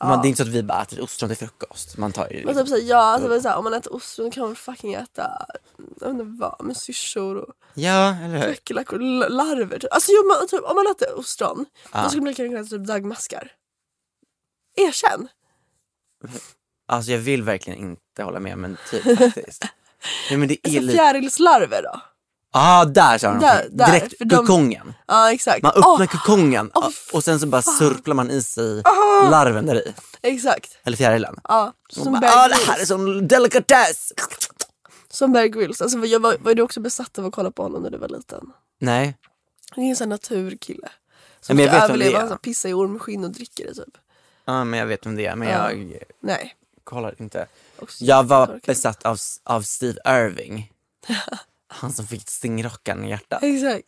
[SPEAKER 1] Man, det är inte så att vi bara äter ostron till frukost. Man tar ju liksom-
[SPEAKER 2] Men typ såhär, ja, alltså, men såhär, om man äter ostron kan man fucking äta jag vet inte vad, med syrsor och
[SPEAKER 1] Ja, eller hur?
[SPEAKER 2] äckelhackor och la- larver. Typ. Alltså jo, man, typ, om man äter ostron då skulle man lika gärna kunna äta typ dagmaskar. Erkänn!
[SPEAKER 1] Alltså jag vill verkligen inte hålla med men typ
[SPEAKER 2] *laughs*
[SPEAKER 1] faktiskt. Nej men det är
[SPEAKER 2] Alltså,
[SPEAKER 1] lite...
[SPEAKER 2] fjärilslarver då?
[SPEAKER 1] Ja, ah, där sa de
[SPEAKER 2] Där-
[SPEAKER 1] någonting.
[SPEAKER 2] där,
[SPEAKER 1] Direkt
[SPEAKER 2] för de-
[SPEAKER 1] kukongen.
[SPEAKER 2] Ja exakt. Ah,
[SPEAKER 1] Man öppnar
[SPEAKER 2] Åh,
[SPEAKER 1] kukongen
[SPEAKER 2] Åh,
[SPEAKER 1] och sen så bara surplar man i sig larven där i.
[SPEAKER 2] exakt.
[SPEAKER 1] Eller fjärilen.
[SPEAKER 2] Ja,
[SPEAKER 1] Och
[SPEAKER 2] som,
[SPEAKER 1] bara,
[SPEAKER 2] Bear
[SPEAKER 1] ah, det här är
[SPEAKER 2] Grylls.
[SPEAKER 1] sån delikatess!
[SPEAKER 2] som Bear Grylls. Alltså, var, jag- var, var du också besatt av att kolla på honom när du var liten?
[SPEAKER 1] Nej,
[SPEAKER 2] Det är en sån här naturkille.
[SPEAKER 1] Ja,
[SPEAKER 2] Som
[SPEAKER 1] men jag
[SPEAKER 2] ska
[SPEAKER 1] vet vem det
[SPEAKER 2] överleva,
[SPEAKER 1] är.
[SPEAKER 2] han så pissar i ormskinn och dricker det typ.
[SPEAKER 1] ja men jag vet om det är men jag
[SPEAKER 2] Nej.
[SPEAKER 1] kollar inte.
[SPEAKER 2] Också
[SPEAKER 1] Jag var
[SPEAKER 2] jättetorkad.
[SPEAKER 1] besatt av, av Steve
[SPEAKER 2] *laughs*
[SPEAKER 1] Irving. Han som fick stingrockan i hjärtat.
[SPEAKER 2] Exakt.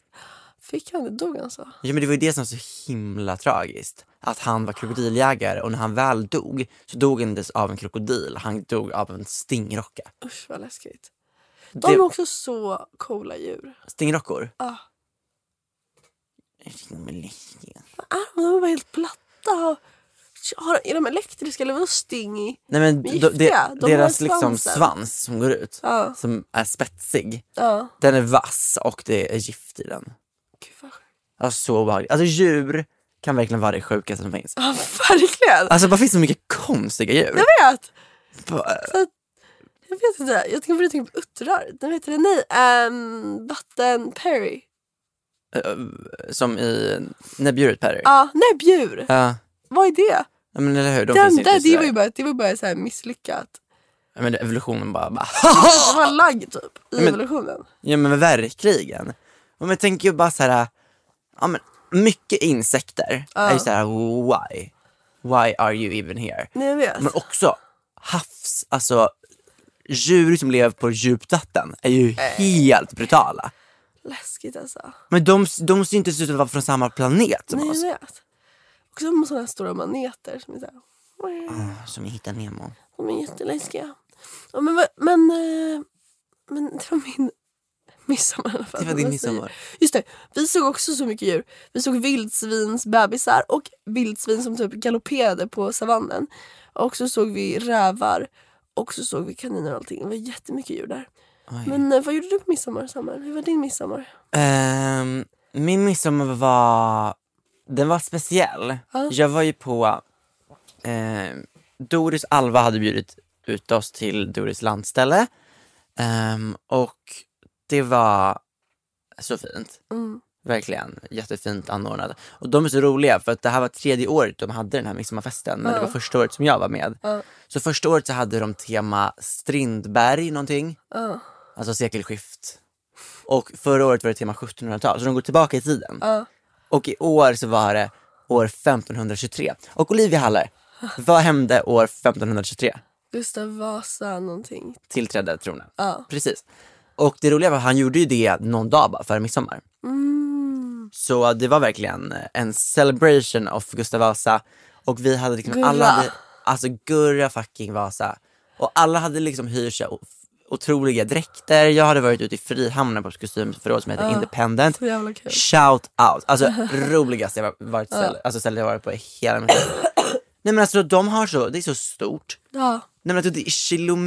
[SPEAKER 2] Fick han det? Dog han så?
[SPEAKER 1] Ja men det var ju det som var så himla tragiskt. Att han var krokodiljägare och när han väl dog så dog han inte ens av en krokodil, han dog av en stingrocka.
[SPEAKER 2] Usch vad läskigt. De är
[SPEAKER 1] Det,
[SPEAKER 2] också så coola djur. Ah,
[SPEAKER 1] stingrockor?
[SPEAKER 2] Ja. Armarna var helt platta. och- Har, är de elektriska eller vadå sting i?
[SPEAKER 1] Nej men
[SPEAKER 2] Men
[SPEAKER 1] de, de,
[SPEAKER 2] giftiga, de har
[SPEAKER 1] deras liksom
[SPEAKER 2] svansen.
[SPEAKER 1] svans som går ut,
[SPEAKER 2] Ja.
[SPEAKER 1] som är spetsig,
[SPEAKER 2] Ja.
[SPEAKER 1] den är vass och det är gift i den.
[SPEAKER 2] Gud vad sjukt.
[SPEAKER 1] Alltså så obehagligt. Alltså djur kan verkligen vara det sjukaste som finns.
[SPEAKER 2] Ja, *laughs* verkligen.
[SPEAKER 1] Alltså bara finns så mycket konstiga djur. eh,
[SPEAKER 2] Jag vet.
[SPEAKER 1] Bara-
[SPEAKER 2] Så att, jag vet inte. Jag tänker på tänka på uttrar. Den heter det? Nej. ehm, vatten Perry.
[SPEAKER 1] eh, Som i när bjuret Perry.
[SPEAKER 2] Ja, nej bjur.
[SPEAKER 1] Ja.
[SPEAKER 2] Vad är det?
[SPEAKER 1] Ja, men eller hur, de
[SPEAKER 2] Den
[SPEAKER 1] finns inte i
[SPEAKER 2] där, det var
[SPEAKER 1] Sverige.
[SPEAKER 2] ju bara, det var bara så här misslyckat.
[SPEAKER 1] Ja, men evolutionen bara, bara
[SPEAKER 2] Det var en lagg typ i
[SPEAKER 1] men-
[SPEAKER 2] evolutionen.
[SPEAKER 1] Ja men verkligen. Och man tänker ju bara så här, ja men mycket insekter är ju så här why? Why are you even here?
[SPEAKER 2] Nej, jag vet.
[SPEAKER 1] Men också havs, alltså djur som lever på djupt vatten är ju helt brutala.
[SPEAKER 2] Läskigt alltså.
[SPEAKER 1] Men de, de ser inte ut att vara från samma planet som alltså-
[SPEAKER 2] Nej,
[SPEAKER 1] oss.
[SPEAKER 2] jag vet. Och så har man sådana här stora maneter som är så här.
[SPEAKER 1] Mm, Som vi hittar Nemo.
[SPEAKER 2] De är jätteläskiga. Ja, men, vad- men, eh, men det var min midsommar i alla fall.
[SPEAKER 1] Det var din
[SPEAKER 2] Vad
[SPEAKER 1] midsommar.
[SPEAKER 2] säger- Just det, vi såg också så mycket djur. Vi såg vildsvinsbebisar och vildsvin som typ galopperade på savannen. Och så såg vi rävar Och så såg vi kaniner och allting. Det var jättemycket djur där.
[SPEAKER 1] Oj.
[SPEAKER 2] Men eh, vad gjorde du på midsommar, Samuel? Hur var din midsommar?
[SPEAKER 1] Ehm, min midsommar var, den var speciell.
[SPEAKER 2] Ja.
[SPEAKER 1] Jag var ju på, ehm, Doris Alva hade bjudit ut oss till Doris landställe. Ehm, och det var så fint.
[SPEAKER 2] Mm.
[SPEAKER 1] Verkligen, jättefint anordnat. Och de är så roliga för att det här var tredje året de hade den här midsommarfesten, men det var första året som jag var med. Så första året så hade de tema Strindberg någonting,
[SPEAKER 2] Ja.
[SPEAKER 1] alltså sekelskift. Och förra året var det tema 1700-tal, så de går tillbaka i tiden. Och i år så var det år 1523. Och Olivia Haller, vad hände år 1523?
[SPEAKER 2] Gustav Vasa någonting.
[SPEAKER 1] Tillträdde tronen. Precis. Och det roliga var att han gjorde ju det någon dag bara före midsommar.
[SPEAKER 2] Mm.
[SPEAKER 1] Så det var verkligen en celebration of Gustav Vasa. Och vi hade liksom alla,
[SPEAKER 2] Gurra.
[SPEAKER 1] hade, alltså Gurra fucking Vasa. Och alla hade liksom hyrt sig o- otroliga dräkter. Jag hade varit ute i Frihamnen på ett kostymförråd som heter Independent.
[SPEAKER 2] Så jävla kul.
[SPEAKER 1] Shout out!
[SPEAKER 2] *laughs*
[SPEAKER 1] Alltså roligaste jag var- varit ställe, alltså stället jag varit på i hela mitt liv. Nej men alltså de har så, det är så stort.
[SPEAKER 2] Ja.
[SPEAKER 1] Nej men alltså, det är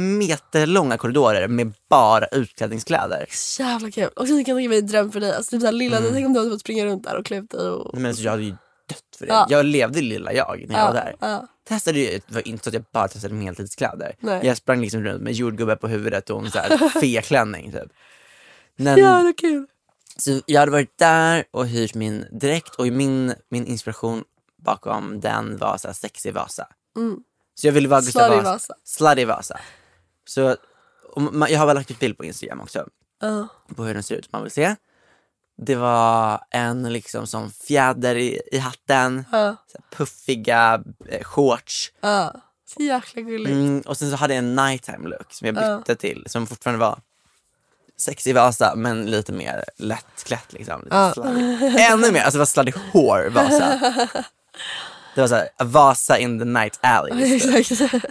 [SPEAKER 1] kilometerlånga korridorer med bara utklädningskläder.
[SPEAKER 2] Så jävla kul. Och sen kan jag tänka mig en dröm för dig. Alltså, typ så här, lilla, Tänk om du hade fått springa runt där och klä ut dig. Och...
[SPEAKER 1] Mm. Nej, men alltså, jag hade ju dött för det.
[SPEAKER 2] Ja.
[SPEAKER 1] Jag levde lilla jag när jag var där.
[SPEAKER 2] ja.
[SPEAKER 1] Testade ju, det var inte så att jag bara testade med heltidskläder.
[SPEAKER 2] Nej.
[SPEAKER 1] Jag sprang liksom runt med jordgubbar på huvudet och en så
[SPEAKER 2] *laughs*
[SPEAKER 1] här feklänning typ. Men,
[SPEAKER 2] Jävla kul.
[SPEAKER 1] så jag hade varit där och hyrt min dräkt och min, min inspiration bakom den var så här sexig Vasa. Så jag ville vara Gustav
[SPEAKER 2] Mm. Slutty
[SPEAKER 1] Vasa.
[SPEAKER 2] Vasa.
[SPEAKER 1] Slutty Vasa. Så, och ma- jag har väl lagt ut bild på Instagram också
[SPEAKER 2] Ja.
[SPEAKER 1] på hur den ser ut som man vill se. Det var en liksom som fjäder i, i hatten,
[SPEAKER 2] Ja.
[SPEAKER 1] så här puffiga eh, shorts
[SPEAKER 2] Ja. Så jäkla gulligt.
[SPEAKER 1] mm, och sen så hade jag en nighttime look som jag bytte till som fortfarande var sexig Vasa men lite mer lättklätt liksom. Lite sladdig. Ännu mer, alltså det var sladdig hår Vasa.
[SPEAKER 2] *laughs*
[SPEAKER 1] Det var såhär, Vasa in the night alley.
[SPEAKER 2] Mm. *laughs*
[SPEAKER 1] just det.
[SPEAKER 2] Exakt.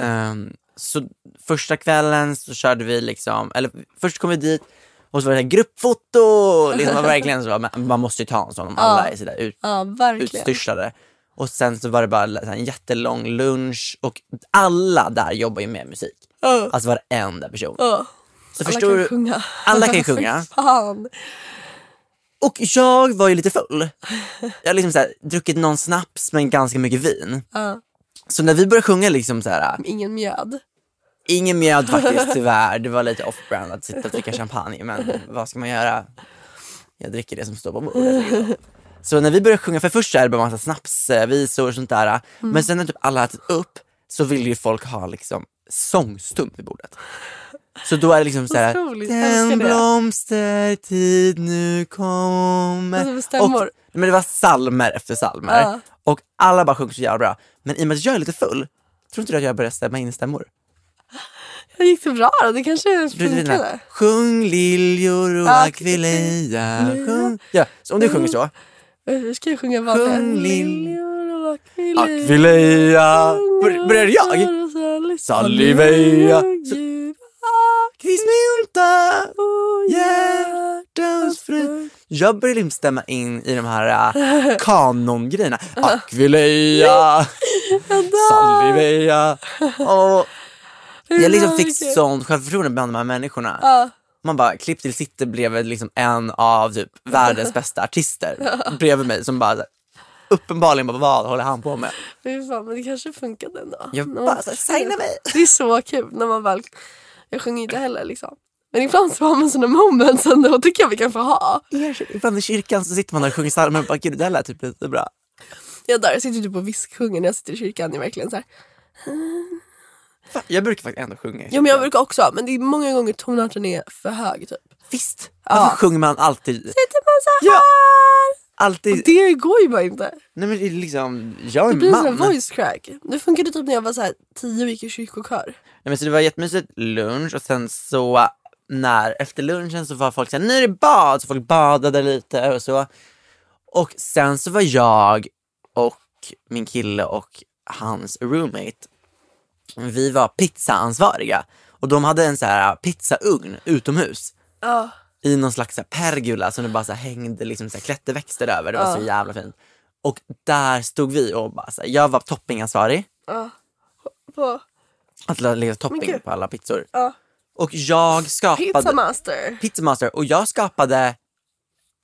[SPEAKER 1] Ehm, så första kvällen så körde vi liksom, eller först kom vi dit och så var det här gruppfoto, liksom, det var verkligen så, men man måste ju ta en sån om alla är sådär ut,
[SPEAKER 2] Ja, verkligen.
[SPEAKER 1] utstyrslade. Och sen så var det bara så här en jättelång lunch och alla där jobbar ju med musik.
[SPEAKER 2] Ja.
[SPEAKER 1] Alltså varenda person.
[SPEAKER 2] Ja.
[SPEAKER 1] Så
[SPEAKER 2] Alla
[SPEAKER 1] förstår
[SPEAKER 2] kan
[SPEAKER 1] du?
[SPEAKER 2] sjunga.
[SPEAKER 1] Alla
[SPEAKER 2] *laughs*
[SPEAKER 1] kan sjunga.
[SPEAKER 2] Fy Fan.
[SPEAKER 1] Och jag var ju lite full. Jag har liksom så här, druckit någon snaps men ganska mycket vin.
[SPEAKER 2] Ja.
[SPEAKER 1] Så när vi började sjunga liksom så här,
[SPEAKER 2] Ingen mjöd.
[SPEAKER 1] Ingen mjöd faktiskt tyvärr, det var lite off-brand att sitta och dricka champagne men vad ska man göra? Jag dricker det som står på bordet. Så när vi började sjunga, för först så är det bara massa snapsvisor och sånt där
[SPEAKER 2] Mm.
[SPEAKER 1] men sen när typ alla ätit upp så vill ju folk ha liksom sångstund vid bordet. Så då är det liksom såhär,
[SPEAKER 2] Otroligt, älskar
[SPEAKER 1] den
[SPEAKER 2] det."
[SPEAKER 1] blomstertid nu kommer.
[SPEAKER 2] Alltså, med stämmor.
[SPEAKER 1] Och- men det var salmer efter salmer
[SPEAKER 2] Ja.
[SPEAKER 1] och alla bara sjöng så jävla bra. Men i och med att jag är lite full, tror inte du att jag började stämma in i stämmor?
[SPEAKER 2] Det gick så bra då. Det kanske
[SPEAKER 1] Du vet den
[SPEAKER 2] funkade.
[SPEAKER 1] här, sjung liljor och
[SPEAKER 2] Ja.
[SPEAKER 1] akvileja, sjung... Mm. Ja, så om du sjunger så.
[SPEAKER 2] Hur ska jag sjunga vad det är?
[SPEAKER 1] Sjung lill-
[SPEAKER 2] Liljor och akvilejer.
[SPEAKER 1] Akvileja, Bör- börjar jag?
[SPEAKER 2] jag?
[SPEAKER 1] Saliveja. Kvismynta, hjärtans frid. Jag började liksom stämma in i de här äh, kanongrejerna. Akvileja, saliveja. Och jag liksom fick sånt självförtroende bland de här människorna. Man bara, klipp till sitter bredvid liksom en av typ världens bästa artister bredvid mig som bara så här, uppenbarligen bara, vad håller han på med?
[SPEAKER 2] Fy fan, men det kanske funkade ändå.
[SPEAKER 1] Jag
[SPEAKER 2] När man
[SPEAKER 1] bara, så här,
[SPEAKER 2] först-
[SPEAKER 1] signa mig!
[SPEAKER 2] *laughs* Det är så kul när man väl... Jag sjunger inte heller liksom. Men ibland så har man såna moments ändå, tycker jag vi kan få ha.
[SPEAKER 1] Ibland i kyrkan så sitter man där och sjunger psalmer och bara, gud det där lät typ lite bra.
[SPEAKER 2] Jag där, jag sitter typ och visksjunger när jag sitter i kyrkan. Det är verkligen så här.
[SPEAKER 1] Fan, Jag brukar faktiskt ändå sjunga. i
[SPEAKER 2] Ja men jag
[SPEAKER 1] kyrkan.
[SPEAKER 2] brukar också, men det är många gånger tonarten är för hög typ.
[SPEAKER 1] Visst, varför sjunger man alltid?
[SPEAKER 2] Sitter man så här!
[SPEAKER 1] Ja. Alltid,
[SPEAKER 2] Det går ju bara inte.
[SPEAKER 1] nej men det är liksom, jag är
[SPEAKER 2] Det blir sån här
[SPEAKER 1] man. Nej,
[SPEAKER 2] voice crack. Det funkade typ när jag var så här tio och gick i kyrkokör.
[SPEAKER 1] men så det var jättemysigt lunch och sen så när, efter lunchen så var folk såhär, nu är det bad, så folk badade lite och så. Och sen så var jag och min kille och hans roommate, vi var pizzaansvariga och de hade en så här pizzaugn utomhus.
[SPEAKER 2] Ja.
[SPEAKER 1] i någon slags så här pergola som det bara så här hängde liksom så här klätterväxter över. Det var så jävla fint. Och där stod vi och bara så här, jag var toppingansvarig
[SPEAKER 2] På
[SPEAKER 1] Att la- lägga topping
[SPEAKER 2] gud.
[SPEAKER 1] på alla pizzor.
[SPEAKER 2] Ja.
[SPEAKER 1] Och jag skapade...
[SPEAKER 2] Pizza master.
[SPEAKER 1] Pizzamaster. Och jag skapade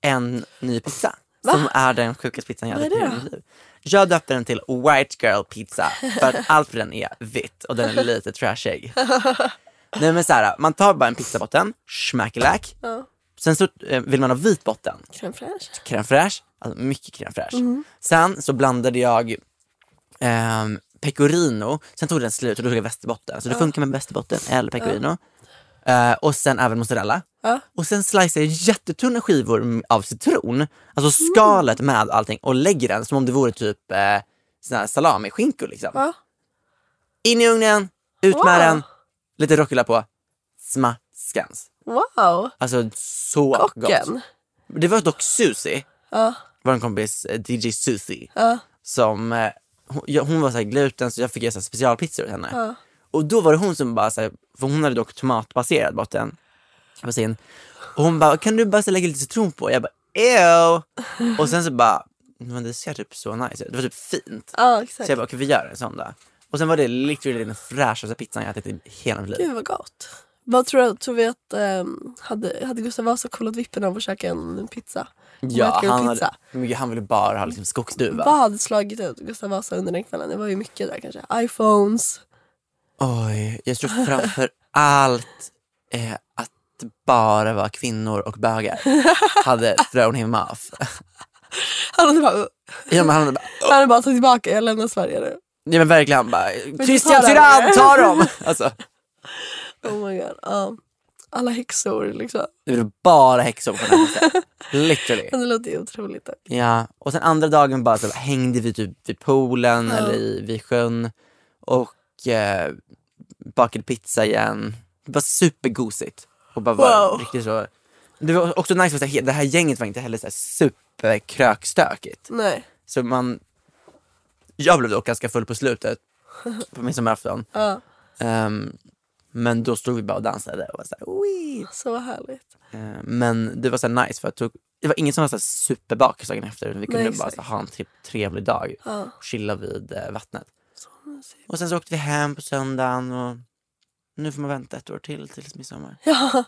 [SPEAKER 1] en ny pizza. Som är den sjukaste pizzan jag
[SPEAKER 2] Vad
[SPEAKER 1] hade
[SPEAKER 2] är det
[SPEAKER 1] i
[SPEAKER 2] då?
[SPEAKER 1] mitt liv. Jag döpte den till White Girl Pizza. För att allt på den är vitt och den är lite trashig. Nej men såhär, man tar bara en pizzabotten, schmackelack. Sen så eh, vill man ha vit botten,
[SPEAKER 2] Crème fraîche.
[SPEAKER 1] crème fraîche, alltså mycket crème fraîche.
[SPEAKER 2] Mm.
[SPEAKER 1] Sen så blandade jag ehm, pecorino, sen tog den slut och då tog jag västerbotten. Så det funkar med västerbotten eller pecorino. Eh, och sen även mozzarella. Och sen slicear jag jättetunna skivor m- av citron, alltså
[SPEAKER 2] Mm.
[SPEAKER 1] skalet med allting och lägger den som om det vore typ eh, såna här salamiskinkor liksom.
[SPEAKER 2] Ja.
[SPEAKER 1] In i ugnen, ut med
[SPEAKER 2] Wow.
[SPEAKER 1] den, lite rucola på, smaskans.
[SPEAKER 2] Wow.
[SPEAKER 1] Alltså så gott.
[SPEAKER 2] Kocken.
[SPEAKER 1] Det var dock Susie, vår kompis eh, DJ Susie, som eh, hon, ja, hon var så här gluten så jag fick göra så här specialpizzor åt henne. Och då var det hon som bara, så här, för hon hade dock tomatbaserad botten på sin. Och hon bara, kan du bara så här lägga lite citron på? Jag bara, ew! Och sen så bara, men det ser typ så nice ut. Det var typ fint.
[SPEAKER 2] Ja,
[SPEAKER 1] Så
[SPEAKER 2] exakt.
[SPEAKER 1] jag bara, okej vi gör en sån då. Och sen var det literally den fräschaste pizzan jag ätit i hela mitt liv.
[SPEAKER 2] Gud vad gott. Vad tror, du- tror vi att ehm, hade, hade Gustav Vasa kollat vippen av att käka en pizza? White girl
[SPEAKER 1] han,
[SPEAKER 2] pizza.
[SPEAKER 1] hade, men gud, han ville bara ha liksom skogsduva.
[SPEAKER 2] Vad hade slagit ut Gustav Vasa under den kvällen? Det var ju mycket där kanske. Iphones.
[SPEAKER 1] Oj, jag tror framför allt eh, att det bara var kvinnor och bögar hade thrown him off.
[SPEAKER 2] Han hade bara,
[SPEAKER 1] Ja, men han bara,
[SPEAKER 2] han hade bara tagit tillbaka, jag lämnar Sverige nu.
[SPEAKER 1] ja, men verkligen han bara, Christian
[SPEAKER 2] ta dem."
[SPEAKER 1] Tyrann, ta dem! Alltså,
[SPEAKER 2] Oh my god. ja. alla häxor liksom.
[SPEAKER 1] det var bara häxor på den här festen. Literally.
[SPEAKER 2] Men det låter ju otroligt. dock.
[SPEAKER 1] Ja, och sen andra dagen bara så hängde vi typ vid poolen eller i, vid sjön och eh, bakade pizza igen. Det var supergosigt. Och bara var
[SPEAKER 2] Wow.
[SPEAKER 1] riktigt så. Det var också nice, för så här, det här gänget var inte heller så här superkrökstökigt.
[SPEAKER 2] Nej.
[SPEAKER 1] Så man, jag blev dock ganska full på slutet, på midsommarafton.
[SPEAKER 2] Ja.
[SPEAKER 1] Ehm, men då stod vi bara och dansade och var så här, "Wee!"
[SPEAKER 2] Så härligt.
[SPEAKER 1] Eh, Men det var så här nice för jag tog, det var ingen som var så här superbakis dagen efter utan vi kunde
[SPEAKER 2] Nej,
[SPEAKER 1] bara
[SPEAKER 2] exakt.
[SPEAKER 1] så här ha en tri- trevlig dag och chilla vid eh, vattnet. Och sen så åkte vi hem på söndagen och nu får man vänta ett år till tills midsommar.
[SPEAKER 2] Ja.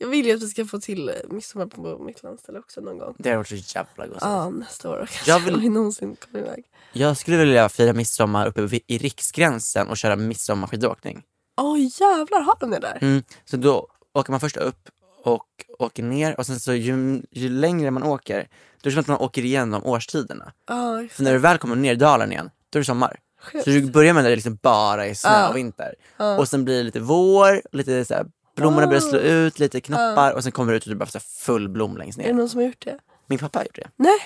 [SPEAKER 2] Jag vill ju att vi ska få till eh, midsommar på mitt landställe också någon gång.
[SPEAKER 1] Det har varit så jävla gosigt.
[SPEAKER 2] Ja, nästa år kanske.
[SPEAKER 1] Jag vill-
[SPEAKER 2] Om vi någonsin kommer iväg.
[SPEAKER 1] Jag skulle vilja fira midsommar uppe vid- i Riksgränsen och köra midsommarskidåkning.
[SPEAKER 2] Åh jävlar, har de det där?
[SPEAKER 1] Mm. Så då åker man först upp och åker ner och sen så ju, ju längre man åker, då är det som att man åker igenom årstiderna.
[SPEAKER 2] Ja,
[SPEAKER 1] För när du väl kommer ner i dalen igen, då är det sommar.
[SPEAKER 2] Sjukt.
[SPEAKER 1] Så du börjar med när det liksom bara är snö
[SPEAKER 2] Ja. Ah.
[SPEAKER 1] och vinter. Och sen blir det lite vår, lite så här, blommorna börjar slå ut, lite knoppar och sen kommer det ut och det är bara så här full blom längst
[SPEAKER 2] är det
[SPEAKER 1] ner.
[SPEAKER 2] någon som har gjort det?
[SPEAKER 1] Min pappa har gjort det.
[SPEAKER 2] Nej?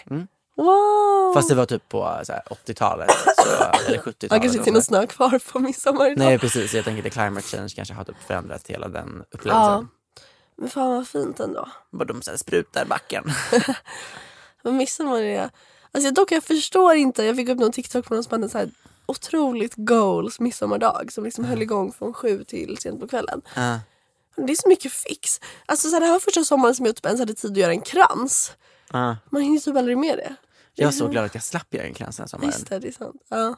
[SPEAKER 2] Wow!
[SPEAKER 1] Mm. Fast det var typ på så här, 80-talet
[SPEAKER 2] *laughs*
[SPEAKER 1] så, eller 70-talet.
[SPEAKER 2] Ja, kanske
[SPEAKER 1] och
[SPEAKER 2] inte
[SPEAKER 1] så.
[SPEAKER 2] är någon snö kvar på midsommar idag.
[SPEAKER 1] Nej precis, jag tänker att climate change kanske har typ förändrat hela den
[SPEAKER 2] Ja.
[SPEAKER 1] upplevelsen.
[SPEAKER 2] Men fan vad fint ändå.
[SPEAKER 1] Bara de så här sprutar backen.
[SPEAKER 2] *laughs* Men midsommar är... Alltså dock jag förstår inte, jag fick upp någon TikTok på någon som hade så här otroligt goals midsommardag som liksom
[SPEAKER 1] Mm.
[SPEAKER 2] höll igång från sju till sent på kvällen.
[SPEAKER 1] Ja.
[SPEAKER 2] Men Det är så mycket fix. Alltså så här, det här var första sommaren som jag typ ens hade tid att göra en krans.
[SPEAKER 1] Ja.
[SPEAKER 2] Man hinner typ aldrig med det.
[SPEAKER 1] Jag var så glad att jag slapp göra en krans den här sommaren.
[SPEAKER 2] Just det, det är sant. Ja.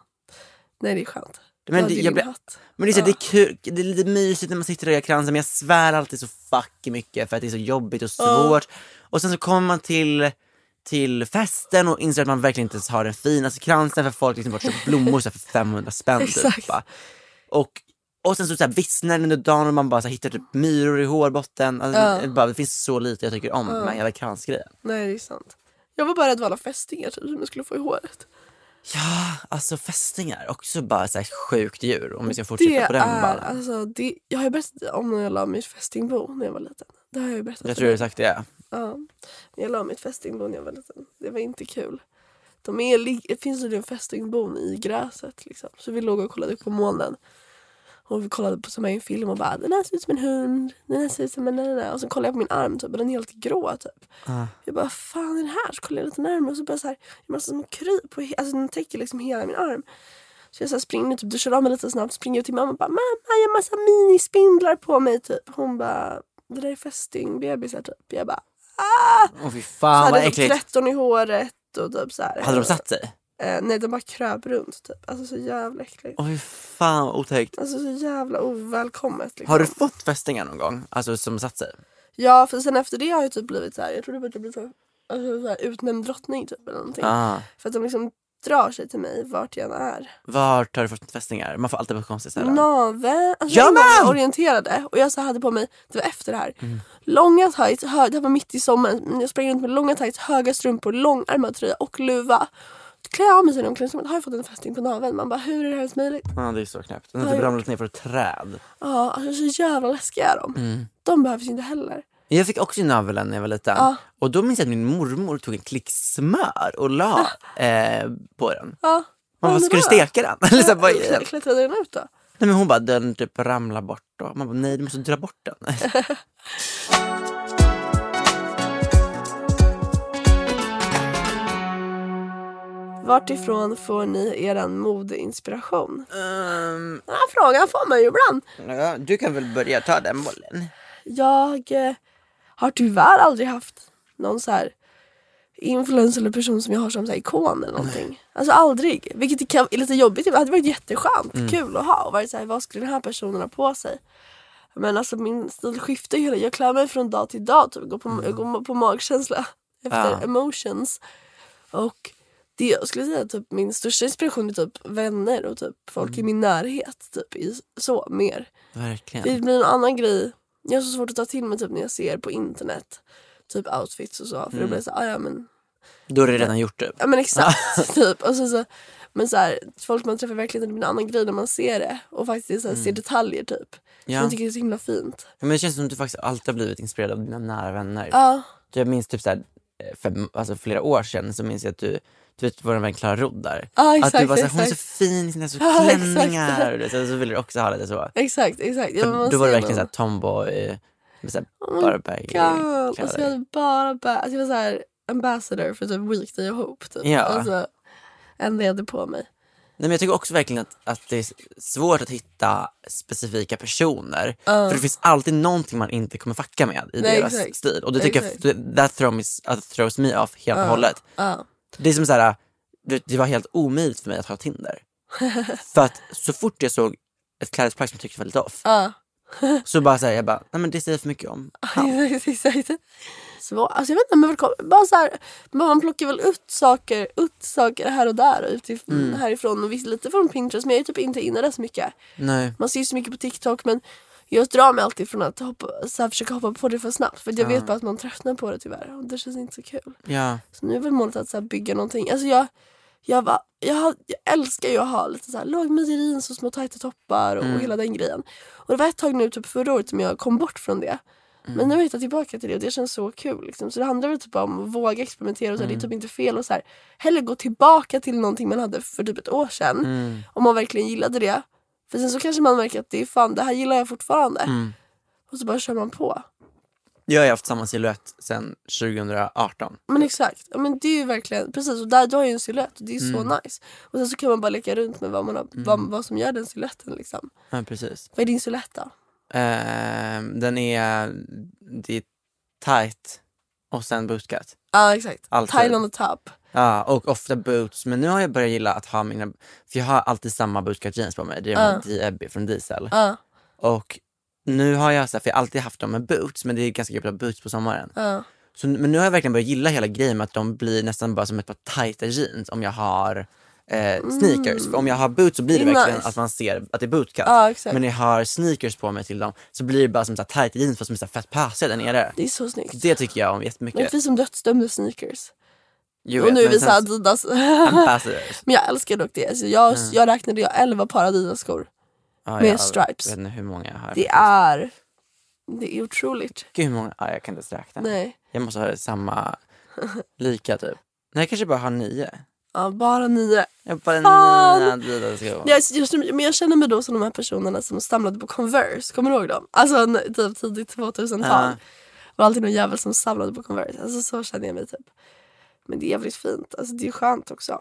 [SPEAKER 2] Nej det är skönt.
[SPEAKER 1] Men
[SPEAKER 2] Du
[SPEAKER 1] det-
[SPEAKER 2] hade ju
[SPEAKER 1] jag
[SPEAKER 2] din
[SPEAKER 1] blir-
[SPEAKER 2] hatt.
[SPEAKER 1] Men det är, så, det är kul, det är lite mysigt när man sitter och gör kransen men jag svär alltid så fucking mycket för att det är så jobbigt och svårt. Och sen så kommer man till, till festen och inser att man verkligen inte ens har den finaste kransen för folk liksom bara köper blommor så här för 500 spänn
[SPEAKER 2] Exakt.
[SPEAKER 1] typ. va. Och, och sen så, så här vissnar den under dagen och man bara så här hittar typ myror i hårbotten. Alltså, det, bara, det finns så lite jag tycker om med hela kransgrejen.
[SPEAKER 2] Nej det är sant. Jag var bara rädd för alla fästingar typ, som jag skulle få i håret.
[SPEAKER 1] Ja, alltså fästingar, också bara så här sjukt djur om vi ska fortsätta
[SPEAKER 2] Det
[SPEAKER 1] på den
[SPEAKER 2] är,
[SPEAKER 1] ballen.
[SPEAKER 2] alltså, det, jag har ju berättat om när jag la mitt fästingbo när jag var liten. Det har jag ju berättat.
[SPEAKER 1] Jag
[SPEAKER 2] för
[SPEAKER 1] tror du
[SPEAKER 2] dig.
[SPEAKER 1] har sagt det.
[SPEAKER 2] Ja, jag la mitt fästingbo när jag var liten. Det var inte kul. De är, lig- det finns ju en fästingbon i gräset liksom. Så vi låg och kollade upp på molnen. Och vi kollade på som i en film och bara den här ser ut som en hund, den här ser ut som en den där. Och så kollade jag på min arm typ, och den är helt grå typ. Jag bara fan är det här? Så kollade jag lite närmare och så började jag så här, det är massa små kryp. På, he- alltså den täcker liksom hela min arm. Så jag så här springer nu, typ duschar av mig lite snabbt, springer jag till mamma och bara mamma jag har massa minispindlar på mig typ. Hon bara det där är fästingbebisar typ. Jag bara ah!
[SPEAKER 1] Åh fy
[SPEAKER 2] Så
[SPEAKER 1] fan Ah, vad
[SPEAKER 2] hade de
[SPEAKER 1] äckligt.
[SPEAKER 2] 13 i håret och typ så här.
[SPEAKER 1] Hade de satt sig?
[SPEAKER 2] Eh, nej, de bara kröp runt typ. Alltså så jävla äckligt.
[SPEAKER 1] Oj, fan vad otäckt.
[SPEAKER 2] Alltså så jävla ovälkommet. Liksom.
[SPEAKER 1] Har du fått fästingar någon gång? Alltså som satt sig?
[SPEAKER 2] Ja, för sen efter det har jag typ blivit så här. jag tror det var att jag blev så, alltså, så här, utnämnd drottning typ eller någonting.
[SPEAKER 1] Ah.
[SPEAKER 2] För att de liksom drar sig till mig vart jag än är.
[SPEAKER 1] Vart har du fått fästingar? Man får alltid på konstiga ställen.
[SPEAKER 2] Naveln, alltså
[SPEAKER 1] Ja,
[SPEAKER 2] jag var
[SPEAKER 1] men!
[SPEAKER 2] orienterade och jag så hade på mig, det var efter det här, långa tights, hö- det här var mitt i sommaren, men jag sprang runt med långa tights, höga strumpor, långärmad tröja och luva. Klär jag av mig sig i omklädningsrummet har jag fått en fästing på naveln. Man bara hur är det här ens möjligt?
[SPEAKER 1] Ja, det är så knäppt. Den har typ ramlat ner från ett träd.
[SPEAKER 2] Ja, alltså så jävla läskiga är de.
[SPEAKER 1] Mm.
[SPEAKER 2] De behövs ju inte heller.
[SPEAKER 1] Jag fick också naveln när jag var liten.
[SPEAKER 2] Ja.
[SPEAKER 1] Och då minns jag att min mormor tog en klick smör och la eh, på den. Man
[SPEAKER 2] Ja.
[SPEAKER 1] bara,
[SPEAKER 2] undrar
[SPEAKER 1] ska du
[SPEAKER 2] då?
[SPEAKER 1] steka den? *laughs* Eller så här, vad är
[SPEAKER 2] Klä-
[SPEAKER 1] det?
[SPEAKER 2] Klättrade den ut då?
[SPEAKER 1] Nej, men hon bara, den typ ramlar bort. Då. Man bara, nej du måste dra bort den. *laughs*
[SPEAKER 2] Vart ifrån får ni eran modeinspiration?
[SPEAKER 1] Ehm,
[SPEAKER 2] Den här frågan får man ju ibland.
[SPEAKER 1] ja, du kan väl börja ta den bollen.
[SPEAKER 2] Jag eh, har tyvärr aldrig haft någon så här influencer eller person som jag har som så här ikon eller någonting. Alltså aldrig. Vilket det kan, är lite jobbigt. Det hade varit jätteskönt. Kul att ha. Och varit så här, vad skulle den här personen ha på sig? Men alltså min stil skiftar ju hela. Jag klär mig från dag till dag. Typ. Går på, Jag går på magkänsla efter
[SPEAKER 1] Ja.
[SPEAKER 2] emotions. Och det jag skulle säga typ min största inspiration är typ vänner och typ folk i min närhet. Typ, i, så mer. Det
[SPEAKER 1] Verkligen.
[SPEAKER 2] blir en annan grej. Jag har så svårt att ta till mig typ när jag ser på internet. Typ outfits och så. För
[SPEAKER 1] Mm.
[SPEAKER 2] då blir det så här, ah, ja men,
[SPEAKER 1] Då har du redan gjort det.
[SPEAKER 2] ja men exakt. *laughs* typ. Och så, så, men så här, folk man träffar verkligen det blir en annan grej när man ser det. Och faktiskt så här, ser detaljer typ.
[SPEAKER 1] Mm. Ja.
[SPEAKER 2] Som jag tycker är så himla fint.
[SPEAKER 1] Men det känns som att du faktiskt alltid har blivit inspirerad av dina nära vänner.
[SPEAKER 2] Ja.
[SPEAKER 1] Jag minns typ så här, eh, för alltså flera år sedan så minns jag att du, du vet vår vän Klara Rodd där.
[SPEAKER 2] Ja,
[SPEAKER 1] att
[SPEAKER 2] exakt,
[SPEAKER 1] du var så här, hon är så
[SPEAKER 2] exakt.
[SPEAKER 1] fin i sina så
[SPEAKER 2] *laughs* Ja, exakt.
[SPEAKER 1] klänningar. och det, så, så ville du också ha det så.
[SPEAKER 2] Exakt, exakt. Ja,
[SPEAKER 1] För
[SPEAKER 2] men man
[SPEAKER 1] då var
[SPEAKER 2] ser
[SPEAKER 1] det verkligen
[SPEAKER 2] någon.
[SPEAKER 1] såhär tomboy, med såhär
[SPEAKER 2] Oh
[SPEAKER 1] bara
[SPEAKER 2] my God. Alltså jag
[SPEAKER 1] baggy-kläder.
[SPEAKER 2] hade bara ba- alltså, jag var så här ambassador för typ Weekday of Hope. Typ.
[SPEAKER 1] Ja.
[SPEAKER 2] Alltså, en det jag hade på mig.
[SPEAKER 1] Nej men jag tycker också verkligen att, att det är svårt att hitta specifika personer. För det finns alltid någonting man inte kommer facka med i
[SPEAKER 2] Nej,
[SPEAKER 1] deras
[SPEAKER 2] exakt.
[SPEAKER 1] stil. Och det tycker
[SPEAKER 2] Exakt.
[SPEAKER 1] jag, that throws, that throws me off helt och hållet. Det är som såhär, det, det var helt omöjligt för mig att ha
[SPEAKER 2] *laughs*
[SPEAKER 1] Tinder. för att så fort jag såg ett klädesplagg som jag tyckte var lite off,
[SPEAKER 2] Ja.
[SPEAKER 1] *laughs* så bara såhär, jag bara, nej men det säger för mycket
[SPEAKER 2] *laughs*
[SPEAKER 1] om han.
[SPEAKER 2] Exakt, exakt. Svår. Alltså jag vet inte, men väl kom- bara så här, men man plockar väl ut saker, ut saker här och där och utif- härifrån och visst lite från Pinterest men jag är typ inte inne där så mycket.
[SPEAKER 1] Nej.
[SPEAKER 2] Man ser ju så mycket på TikTok men jag drar mig alltid från att hoppa, så här, försöka hoppa på det för snabbt för jag vet bara att man tröttnar på det tyvärr och det känns inte så kul.
[SPEAKER 1] Ja.
[SPEAKER 2] Så nu är väl målet att så här, bygga någonting. Alltså jag, jag, var, jag, har- jag älskar ju att ha lite så här låg midi jeans och små tajta toppar och, och hela den grejen. Och det var ett tag nu typ förra året som jag kom bort från det. Men nu har jag hittat tillbaka till det och det känns så kul. Liksom. Så det handlar väl typ bara om att våga experimentera och så här, det är typ inte fel och så här. Hellre gå tillbaka till någonting man hade för typ ett år sedan. Om man verkligen gillade det. För sen så kanske man märker att det är fan det här gillar jag fortfarande. Och så bara kör man på.
[SPEAKER 1] Jag har ju haft samma silhuett sedan 2018.
[SPEAKER 2] Men exakt, ja, men det är ju verkligen precis och där du har ju en silhuett och det är så
[SPEAKER 1] Mm.
[SPEAKER 2] nice. Och sen så kan man bara leka runt med vad, man har, vad, vad som gör den siluetten liksom.
[SPEAKER 1] Ja, precis.
[SPEAKER 2] Vad är din silhuett då?
[SPEAKER 1] Ehm, den är, det är tight och sen bootcut.
[SPEAKER 2] Ja exakt,
[SPEAKER 1] Alltid.
[SPEAKER 2] Tile on the top.
[SPEAKER 1] Ja, och ofta boots. Men nu har jag börjat gilla att ha mina, för jag har alltid samma bootcut jeans på mig. Det är de här D-Ebby från Diesel.
[SPEAKER 2] Ja.
[SPEAKER 1] Och nu har jag, så här, för jag har alltid haft dem med boots, men det är ganska jobbigt att ha boots på sommaren.
[SPEAKER 2] Ja.
[SPEAKER 1] Så, men nu har jag verkligen börjat gilla hela grejen med att de blir nästan bara som ett par tajta jeans om jag har eh, sneakers. För om jag har boots så blir det
[SPEAKER 2] Det är
[SPEAKER 1] verkligen
[SPEAKER 2] Mm. nice.
[SPEAKER 1] att man ser att det är bootcut.
[SPEAKER 2] Ja, exakt.
[SPEAKER 1] men när jag har sneakers på mig till dem så blir det bara som så här tajta jeans fast som är så här fett pösiga där nere.
[SPEAKER 2] Det är så snyggt.
[SPEAKER 1] Det tycker jag om
[SPEAKER 2] Men det är
[SPEAKER 1] jättemycket.
[SPEAKER 2] precis som dödsdömda sneakers.
[SPEAKER 1] Jo,
[SPEAKER 2] och
[SPEAKER 1] vet,
[SPEAKER 2] nu är
[SPEAKER 1] men
[SPEAKER 2] vi
[SPEAKER 1] sen
[SPEAKER 2] såhär Adidas. *laughs*
[SPEAKER 1] Ambassadors.
[SPEAKER 2] men jag älskar dock det. Alltså, jag,
[SPEAKER 1] Mm.
[SPEAKER 2] jag räknade jag 11 par Adidas skor.
[SPEAKER 1] Ja,
[SPEAKER 2] Med
[SPEAKER 1] jag
[SPEAKER 2] stripes.
[SPEAKER 1] vet inte hur många jag har.
[SPEAKER 2] Det är, det är otroligt.
[SPEAKER 1] Gud, hur många? Ja, jag kan inte ens räkna.
[SPEAKER 2] Nej,
[SPEAKER 1] Jag måste ha
[SPEAKER 2] *laughs*
[SPEAKER 1] samma, lika typ. Nej, jag kanske bara har nio.
[SPEAKER 2] ja, bara nio.
[SPEAKER 1] Jag har bara
[SPEAKER 2] Fan!
[SPEAKER 1] nio Adidas-skor.
[SPEAKER 2] Jag, just, nu- men jag känner mig då som de här personerna som samlade på Converse, kommer du ihåg dem? Alltså n- typ tidigt 2000-tal.
[SPEAKER 1] Ja.
[SPEAKER 2] Det var alltid någon jävel som samlade på Converse, alltså så känner jag mig typ. Men det är jävligt fint, alltså det är skönt också.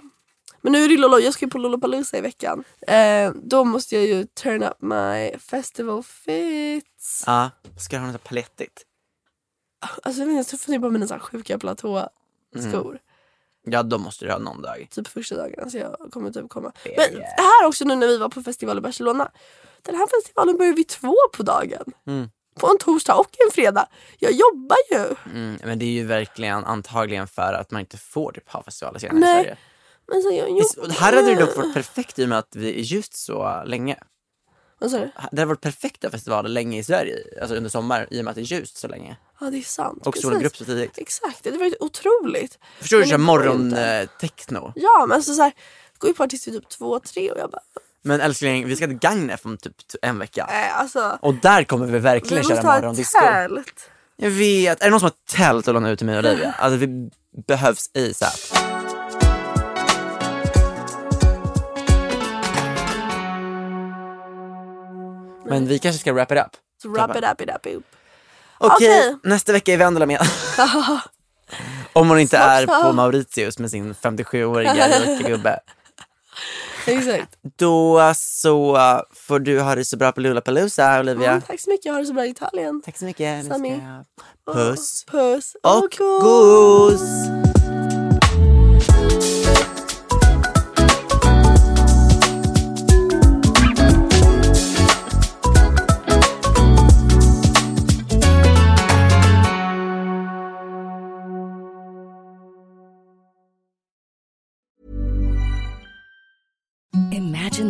[SPEAKER 2] Men nu är det Lolo, jag ska ju på Lollapalooza i veckan. Eh, då måste jag ju turn up my festival fits.
[SPEAKER 1] Ja, ska jag ha något palettigt?
[SPEAKER 2] Alltså jag vet inte, jag funderar på mina så här sjuka platåskor.
[SPEAKER 1] Ja, då måste du ha någon dag.
[SPEAKER 2] typ första dagarna så jag kommer typ komma. Men här också nu när vi var på festival i Barcelona. Den här festivalen börjar vid två på dagen. På en torsdag och en fredag. Jag jobbar ju.
[SPEAKER 1] Mm, men det är ju verkligen antagligen för att man inte får typ ha festivaler senare
[SPEAKER 2] Nej.
[SPEAKER 1] i Sverige.
[SPEAKER 2] Men så jag jobbar.
[SPEAKER 1] Och här hade det dock varit perfekt i och med att vi är just så länge.
[SPEAKER 2] Vad sa du?
[SPEAKER 1] Det hade varit perfekta festivaler länge i Sverige, alltså under sommaren, i och med att det är ljust så länge.
[SPEAKER 2] Ja det är sant.
[SPEAKER 1] Och solen går upp så tidigt.
[SPEAKER 2] Exakt, det var ju otroligt.
[SPEAKER 1] Förstår du,
[SPEAKER 2] Men
[SPEAKER 1] kör
[SPEAKER 2] det går ju inte.
[SPEAKER 1] eh, morgon-techno.
[SPEAKER 2] Ja men alltså så här, går ju på tills vi typ två, tre och jag bara,
[SPEAKER 1] Men älskling, vi ska till Gagnef om typ t- en vecka.
[SPEAKER 2] nej alltså.
[SPEAKER 1] Och där kommer vi
[SPEAKER 2] Vi
[SPEAKER 1] verkligen
[SPEAKER 2] måste
[SPEAKER 1] köra
[SPEAKER 2] ha ett
[SPEAKER 1] morgondisco.
[SPEAKER 2] tält.
[SPEAKER 1] Jag vet, är det någon som har tält att låna ut till mig och Olivia?
[SPEAKER 2] *laughs*
[SPEAKER 1] Alltså vi behövs ASAP. Men vi kanske ska wrap it up.
[SPEAKER 2] Så wrap it up, it up,
[SPEAKER 1] *laughs*
[SPEAKER 2] it up.
[SPEAKER 1] Okej,
[SPEAKER 2] Okej.
[SPEAKER 1] nästa vecka är Vendela
[SPEAKER 2] *laughs*
[SPEAKER 1] med. Om hon inte är
[SPEAKER 2] snart.
[SPEAKER 1] på Mauritius med sin 57-åriga
[SPEAKER 2] *laughs*
[SPEAKER 1] rika gubbe.
[SPEAKER 2] Exakt.
[SPEAKER 1] Då så får du ha det så bra på Lollapalooza Olivia.
[SPEAKER 2] Mm, tack så mycket, jag har det så bra i Italien.
[SPEAKER 1] Tack så mycket. Nu
[SPEAKER 2] Sammy. oh,
[SPEAKER 1] ska jag- Puss
[SPEAKER 2] Puss
[SPEAKER 1] och gos.
[SPEAKER 3] Imagine